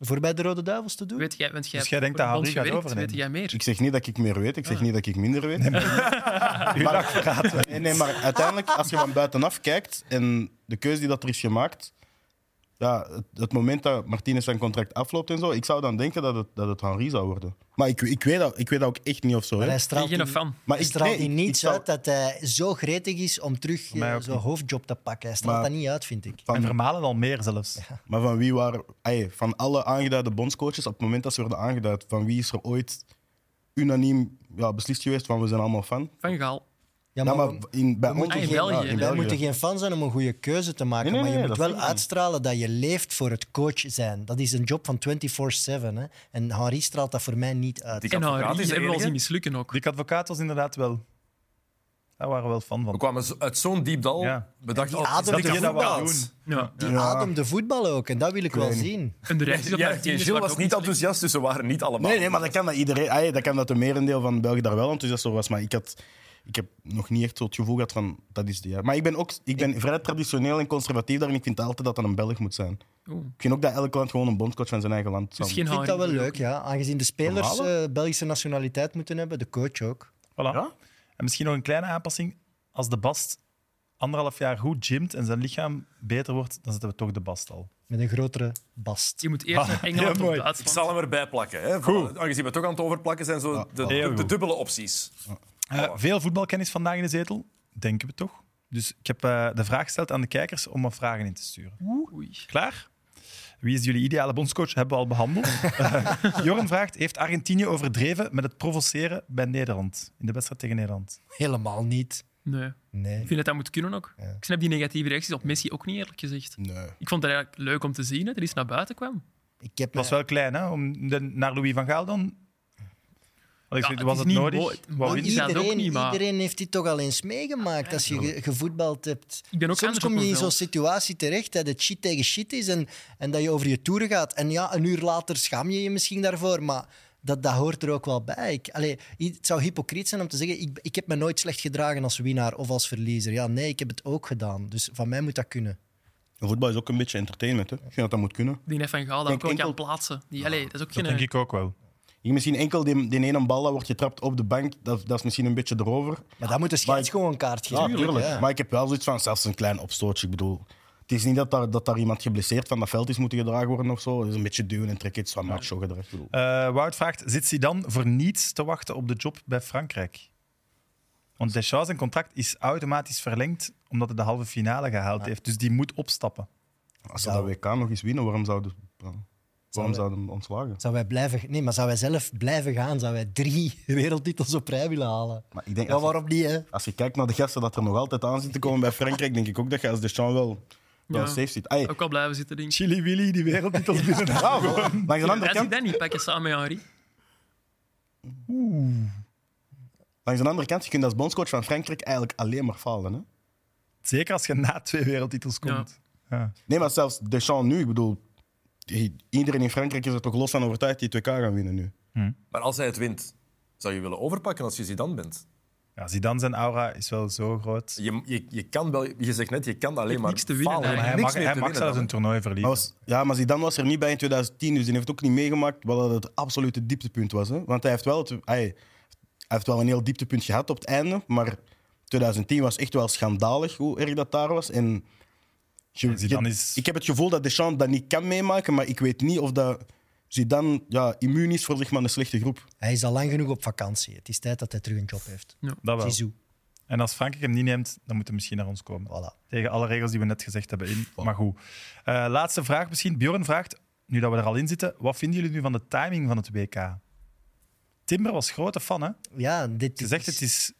B: Voor bij de Rode Duivels te doen?
E: Weet jij, want jij
A: Dus jij denkt
E: voor
A: dat
E: de
A: Henri gaat
E: bond gewerkt,
A: overnemen?
E: Weet jij meer?
D: Ik zeg niet dat ik meer weet, ik zeg niet dat ik minder weet. *laughs*
A: Uw dag gaat.
D: Nee, nee, maar uiteindelijk, als je van buitenaf kijkt en de keuze die dat er is gemaakt, ja, het, het moment dat Martinez zijn contract afloopt en zo, ik zou dan denken dat het, dat het Henri zou worden. Maar ik, ik, weet, dat, ik weet dat ook echt niet of zo.
B: Maar
D: Hè.
B: hij
E: Ik ben
B: straalt,
E: geen
B: in,
E: fan.
D: Maar
B: hij
D: ik,
B: straalt
D: nee,
B: in
D: ik- ik
B: niets
D: zou-
B: uit dat hij zo gretig is om terug
A: mij
B: eh,
A: ook
B: zijn hoofdjob te pakken. Hij straalt
D: Maar-
B: dat niet uit, vind ik.
A: En
D: van,
A: vermalen al meer zelfs.
D: maar van wie waren... ey, van alle aangeduide bondscoaches, op het moment dat ze werden aangeduid, van wie is er ooit unaniem ja, beslist geweest van we zijn allemaal fan?
E: Van Gaal.
B: Ja,
D: Ja,
B: maar,
D: maar in, bij
B: we
D: ons...
B: moeten
E: in
D: ja,
E: België.
D: in
E: Wij
B: wij moeten geen fan zijn om een goede keuze te maken,
D: Nee, nee,
B: maar je
D: nee,
B: moet
D: dat
B: wel
D: vind ik
B: uitstralen dat je leeft voor het coach zijn. Dat is een job van 24-7. hè. En Henri straalt dat voor mij niet uit.
F: Die
E: En
F: advocaat
E: Henri
F: is de
E: hebben we al
F: enige.
E: zien mislukken ook.
A: Dick Advocaat was inderdaad wel... Daar waren we wel fan
F: We
A: van.
F: kwamen zo- uit zo'n diep dal.
A: Ja.
F: Bedacht
B: Die
F: al,
B: adem
A: Dat
B: die
A: je dat wou
F: voetbal.
A: doen.
E: Ja.
B: Die ademde voetbal ook, en dat wil ik wel zien.
E: En de rest is op
F: Ja,
E: haar tien, dus
F: Gilles
E: maakt
F: was
E: ook
F: niet
E: slecht.
F: enthousiast, dus ze waren niet allemaal.
D: Nee, nee, maar dat kan dat iedereen. Ey, dat kan dat de merendeel van België daar wel enthousiast over was. Maar ik, had, ik heb nog niet echt zo het gevoel gehad van dat is de. ja. Maar ik ben ook ik ben vrij traditioneel en conservatief daarin. Ik vind altijd dat dat een Belg moet zijn.
E: Oeh.
D: Ik vind ook dat elk land gewoon een bondscoach van zijn eigen land.
E: Dus
D: zou
E: geen
B: Ik vind dat
E: Henri.
B: wel leuk, ja. Aangezien de spelers
D: Normale?
B: eh, Belgische nationaliteit moeten hebben, de coach ook.
A: Voilà.
D: Ja?
A: En misschien nog een kleine aanpassing. Als de Bast anderhalf jaar goed gymt en zijn lichaam beter wordt, dan zetten we toch de Bast al.
B: Met een grotere bast.
E: Je moet eerst naar Engeland
A: heel
E: of
A: Ah, mooi.
F: Ik
E: Duitsland.
F: zal hem erbij plakken. Hè. Goed. Aangezien we toch aan het overplakken zijn, zo de,
A: heel
F: de,
A: goed.
F: dubbele opties.
A: Oh, Eh, veel voetbalkennis vandaag in de zetel, denken we toch? Dus ik heb eh, de vraag gesteld aan de kijkers om wat vragen in te sturen. Klaar? Wie is jullie ideale bondscoach? Hebben we al
E: *laughs*
A: behandeld. Eh, Jorn vraagt, heeft Argentinië overdreven met het provoceren bij Nederland? In de wedstrijd tegen Nederland.
B: Helemaal niet.
E: Nee.
A: Hm.
B: Nee.
E: Ik vind dat dat moet kunnen ook. Ik snap die negatieve reacties op Messi ook niet, eerlijk gezegd. Ik vond het eigenlijk leuk om te zien dat hij eens naar buiten kwam.
B: Ik heb
A: was wel klein, hè? Om de, naar Louis van Gaal dan? Allee,
E: Ja, het
A: was
E: is
A: het
E: niet
A: nodig?
E: mooi.
A: Wou
E: Mooi
A: winnen?
E: is dat ook
B: Oh, iedereen,
E: niet, maar-
B: iedereen heeft dit toch al eens meegemaakt als je ge- gevoetbald hebt.
E: Ik ben ook
B: Soms
E: anders
B: kom
E: op
B: je in
E: mijn
B: zo'n
E: veld.
B: situatie terecht dat het shit tegen shit is en, en dat je over je toeren gaat. En ja, een uur later schaam je je misschien daarvoor, maar dat, dat hoort er ook wel bij. Ik, allee, i- het zou hypocriet zijn om te zeggen, ik, ik heb me nooit slecht gedragen als winnaar of als verliezer. Ja, nee, ik heb het ook gedaan. Dus van mij moet dat kunnen.
D: Voetbal is ook een beetje entertainment. Hè? Ik vind dat dat moet kunnen.
E: Die net van Gaal dat
D: Denk
E: ook wel kan
D: enkel-
E: plaatsen.
A: Ah,
E: Die, allee, dat is ook geen...
A: ook wel.
D: misschien enkel die, die ene bal dat wordt getrapt op de bank, dat, dat is misschien een beetje erover.
B: Maar dan moet de scheids gewoon een kaart
D: Ja,
B: geven.
D: tuurlijk. Maar ik heb wel zoiets van, zelfs een klein opstootje. Ik bedoel, het is niet dat daar, dat daar iemand geblesseerd van dat veld is moeten gedragen worden of zo. Het is een beetje duwen en trekken. Het is van macho gedrag. Ik bedoel.
A: Eh, Wout vraagt, zit Zidane voor niets te wachten op de job bij Frankrijk? Want Deschamps zijn contract is automatisch verlengd omdat hij de halve finale gehaald heeft. Dus die moet opstappen.
D: Als ze dat WK nog eens winnen, waarom zouden waarom zouden we ontslagen?
B: Zou wij blijven, nee, maar zou wij zelf blijven gaan? Zou wij drie *laughs* wereldtitels op rij willen halen?
D: Maar ik denk,
B: Ja,
D: als je-
B: waarom niet, hè?
D: Als je kijkt naar de gasten dat er nog altijd aan zitten komen bij Frankrijk, denk ik ook dat je als Deschamps wel, wel
E: Ja.
D: safe zit. Ay,
E: Ook al blijven zitten, denk ik.
A: Chili Willy, die wereldtitels binnen.
D: ja, voilà. langs de andere
E: Als ik
D: kant,
E: dat niet pakken samen met Henri.
D: langs de andere kant, je kunt als bondscoach van Frankrijk eigenlijk alleen maar falen. Hè?
A: Zeker als je na twee wereldtitels komt. Ja.
D: Nee, maar zelfs Deschamps nu, ik bedoel, i- iedereen in Frankrijk is er toch los van overtuigd die het WK gaan winnen nu.
F: Maar als hij het wint, zou je willen overpakken als je Zidane bent?
A: Ja, Zidane zijn aura is wel zo groot.
F: Je, je, je kan wel... Je zegt net, je kan alleen maar
E: niks te winnen,
F: falen.
A: Maar hij
F: Niks
A: mag,
F: meer
A: hij
F: te
A: mag
F: winnen
A: zelfs
F: dan.
A: een toernooi verliezen.
D: Maar was, ja, maar Zidane was er niet bij in 2010, dus die heeft het ook niet meegemaakt wat dat het absolute dieptepunt was. Hè? Want hij heeft, wel het, hij, hij heeft wel een heel dieptepunt gehad op het einde, maar 2010 was echt wel schandalig hoe erg dat daar was. En je-
A: Zidane
D: je-
A: is-
D: Ik heb het gevoel dat Deschamps dat niet kan meemaken, maar ik weet niet of dat Zidane ja, immuun is voor zeg maar, een slechte groep.
B: Hij is al lang genoeg op vakantie. Het is tijd dat hij terug een job heeft.
A: Dat wel.
B: Zizou.
A: En als Frankrijk hem niet neemt, dan moet hij misschien naar ons komen.
B: Voilà.
A: Tegen alle regels die we net gezegd hebben in. Maar goed. Eh, laatste vraag misschien. Bjorn vraagt, nu dat we er al in zitten, wat vinden jullie nu van de timing van het WK? Timber was grote fan, hè?
B: Ja, dit
A: Ze zegt,
B: is-
A: het is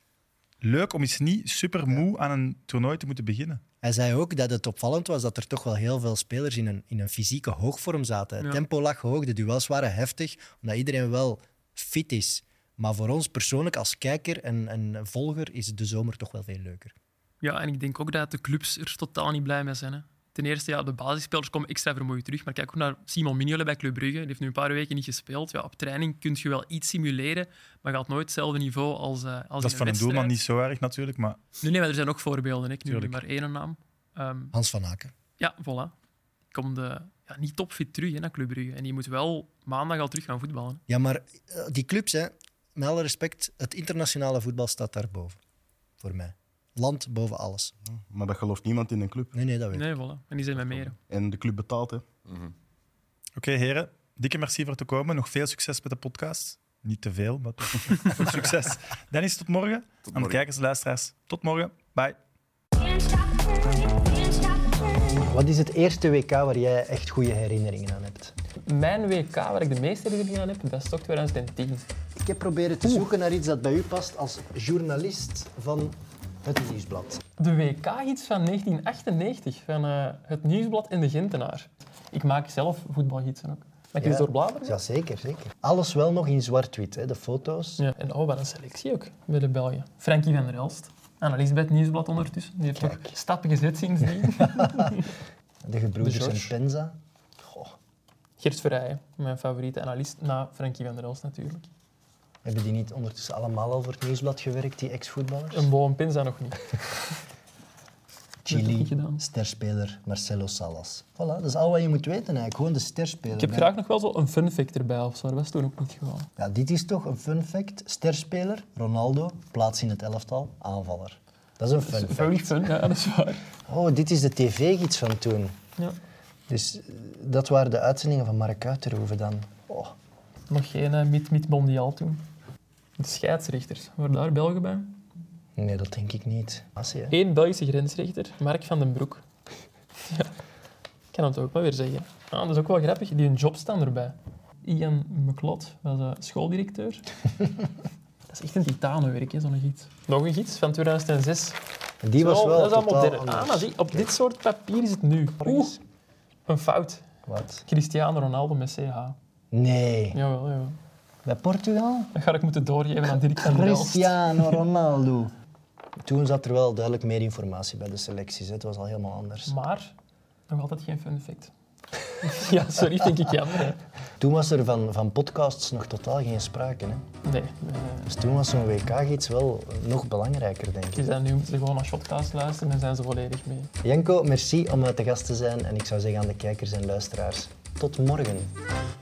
A: leuk om eens niet super moe aan een toernooi te moeten beginnen.
B: Hij zei ook dat het opvallend was dat er toch wel heel veel spelers in een, in een fysieke hoogvorm zaten. Het
E: Ja.
B: tempo lag hoog, de duels waren heftig, omdat iedereen wel fit is. Maar voor ons persoonlijk als kijker en, en volger is de zomer toch wel veel leuker.
E: Ja, en ik denk ook dat de clubs er totaal niet blij mee zijn. Hè. Ten eerste, ja, de basisspelers komen extra vermoeid terug. Maar kijk ook naar Simon Mignolet bij Club Brugge. Die heeft nu een paar weken niet gespeeld. Ja, op training kun je wel iets simuleren, maar gaat nooit hetzelfde niveau als, eh als
A: Dat is
E: in
A: van een
E: wedstrijd.
A: doelman niet zo erg natuurlijk, maar
E: Nee, nee, maar er zijn ook voorbeelden. hè. Ik noem nu
A: Tuurlijk.
E: maar één naam. Ehm,
B: Hans van Aken.
E: ja, voilà. Komt de ja, niet topfit terug hè, naar Club Brugge. En die moet wel maandag al terug gaan voetballen. hè.
B: Ja, maar eh, die clubs, hè, met alle respect, het internationale voetbal staat daarboven. Voor mij. Land boven alles.
D: Maar dat gelooft niemand in een club.
B: Nee, nee, dat weet ik.
E: Nee, voilà. En die zijn met meer.
D: En de club betaalt, hè.
A: Oké, heren. Dikke merci voor te komen. Nog veel succes met de podcast. Niet te veel, maar toch *laughs* veel succes. Dennis, tot morgen. Aan de
F: morgen.
A: kijkers en luisteraars, tot morgen. Bye.
B: Wat is het eerste WK waar jij echt goede herinneringen aan hebt?
E: Mijn WK, waar ik de meeste herinneringen aan heb, dat is toch 2010.
B: Ik heb proberen te zoeken naar iets dat bij u past als journalist van het Nieuwsblad.
E: De WK-gids van 1998 van eh, het Nieuwsblad en de Gentenaar. Ik maak zelf voetbalgidsen ook. Mag ik eens doorbladeren?
B: Ja, zeker, zeker. Alles wel nog in zwart-wit, hè, de foto's.
E: Ja. En oh, wat een selectie ook bij de Belgen. Frankie van der Elst, analist bij het Nieuwsblad ondertussen. Die heeft toch stappen
B: *laughs*
E: gezet sindsdien.
B: De gebroeders
E: De
B: en
E: George.
B: Penza.
E: Gert Verheijen, mijn favoriete analist, na Frankie van der Elst natuurlijk.
B: Hebben die niet ondertussen allemaal al voor het Nieuwsblad gewerkt, die ex-voetballers?
E: Een Bo en Pinza nog niet. niet
B: Chili,
E: gedaan.
B: sterspeler Marcelo Salas. Voilà, dat is al wat je moet weten eigenlijk. Gewoon de sterspeler.
E: Ik heb
B: Ja.
E: graag nog wel zo een fun fact erbij of zo. Dat was toen ook niet gewoon.
B: Ja, dit is toch een fun fact. Sterspeler, Ronaldo, plaats in het elftal, aanvaller. Dat is een fun fact.
E: Very fun, ja, dat is waar.
B: Oh, dit is de tv-gids van toen.
E: Ja.
B: Dus eh, dat waren de uitzendingen van Mark Uiterhoeven dan. Oh.
E: Nog geen eh, mid-mid-mondiaal toen. De scheidsrechters, waren daar Belgen bij?
B: Nee, dat denk ik niet. Ah, Azië.
E: Eén Belgische grensrechter, Mark van den Broek. *laughs* Ja, ik kan het ook maar weer zeggen. Ah, dat is ook wel grappig, die een job staan erbij. Ian McLot was eh, *laughs* schooldirecteur. dat is echt een titanenwerk, hè, zo'n gids. Nog een gids van 2006.
B: Die was
E: Zo,
B: wel
E: Dat is al
B: totaal
E: modern.
B: anders.
E: Ah, maar zie, op dit soort papier is het nu. Oeh, een fout.
B: Wat?
E: Cristiano Ronaldo met CH.
B: Nee.
E: Jawel, jawel.
B: Bij Portugal?
E: Dat ga ik moeten doorgeven aan Dirk van der Elst.
B: Cristiano Ronaldo. Toen zat er wel duidelijk meer informatie bij de selecties. hè. Het was al helemaal anders.
E: Maar nog altijd geen fun fact. *laughs* ja, sorry, vind ik jammer. Hè.
B: Toen was er van, van podcasts nog totaal geen sprake. Hè?
E: Nee.
B: Dus toen was zo'n WK-gids wel nog belangrijker, denk
E: Die
B: ik.
E: zijn nu moeten ze gewoon naar Shotcast luisteren en zijn ze volledig mee.
B: Janko, merci om eh, te gast te zijn. En ik zou zeggen aan de kijkers en luisteraars, tot morgen.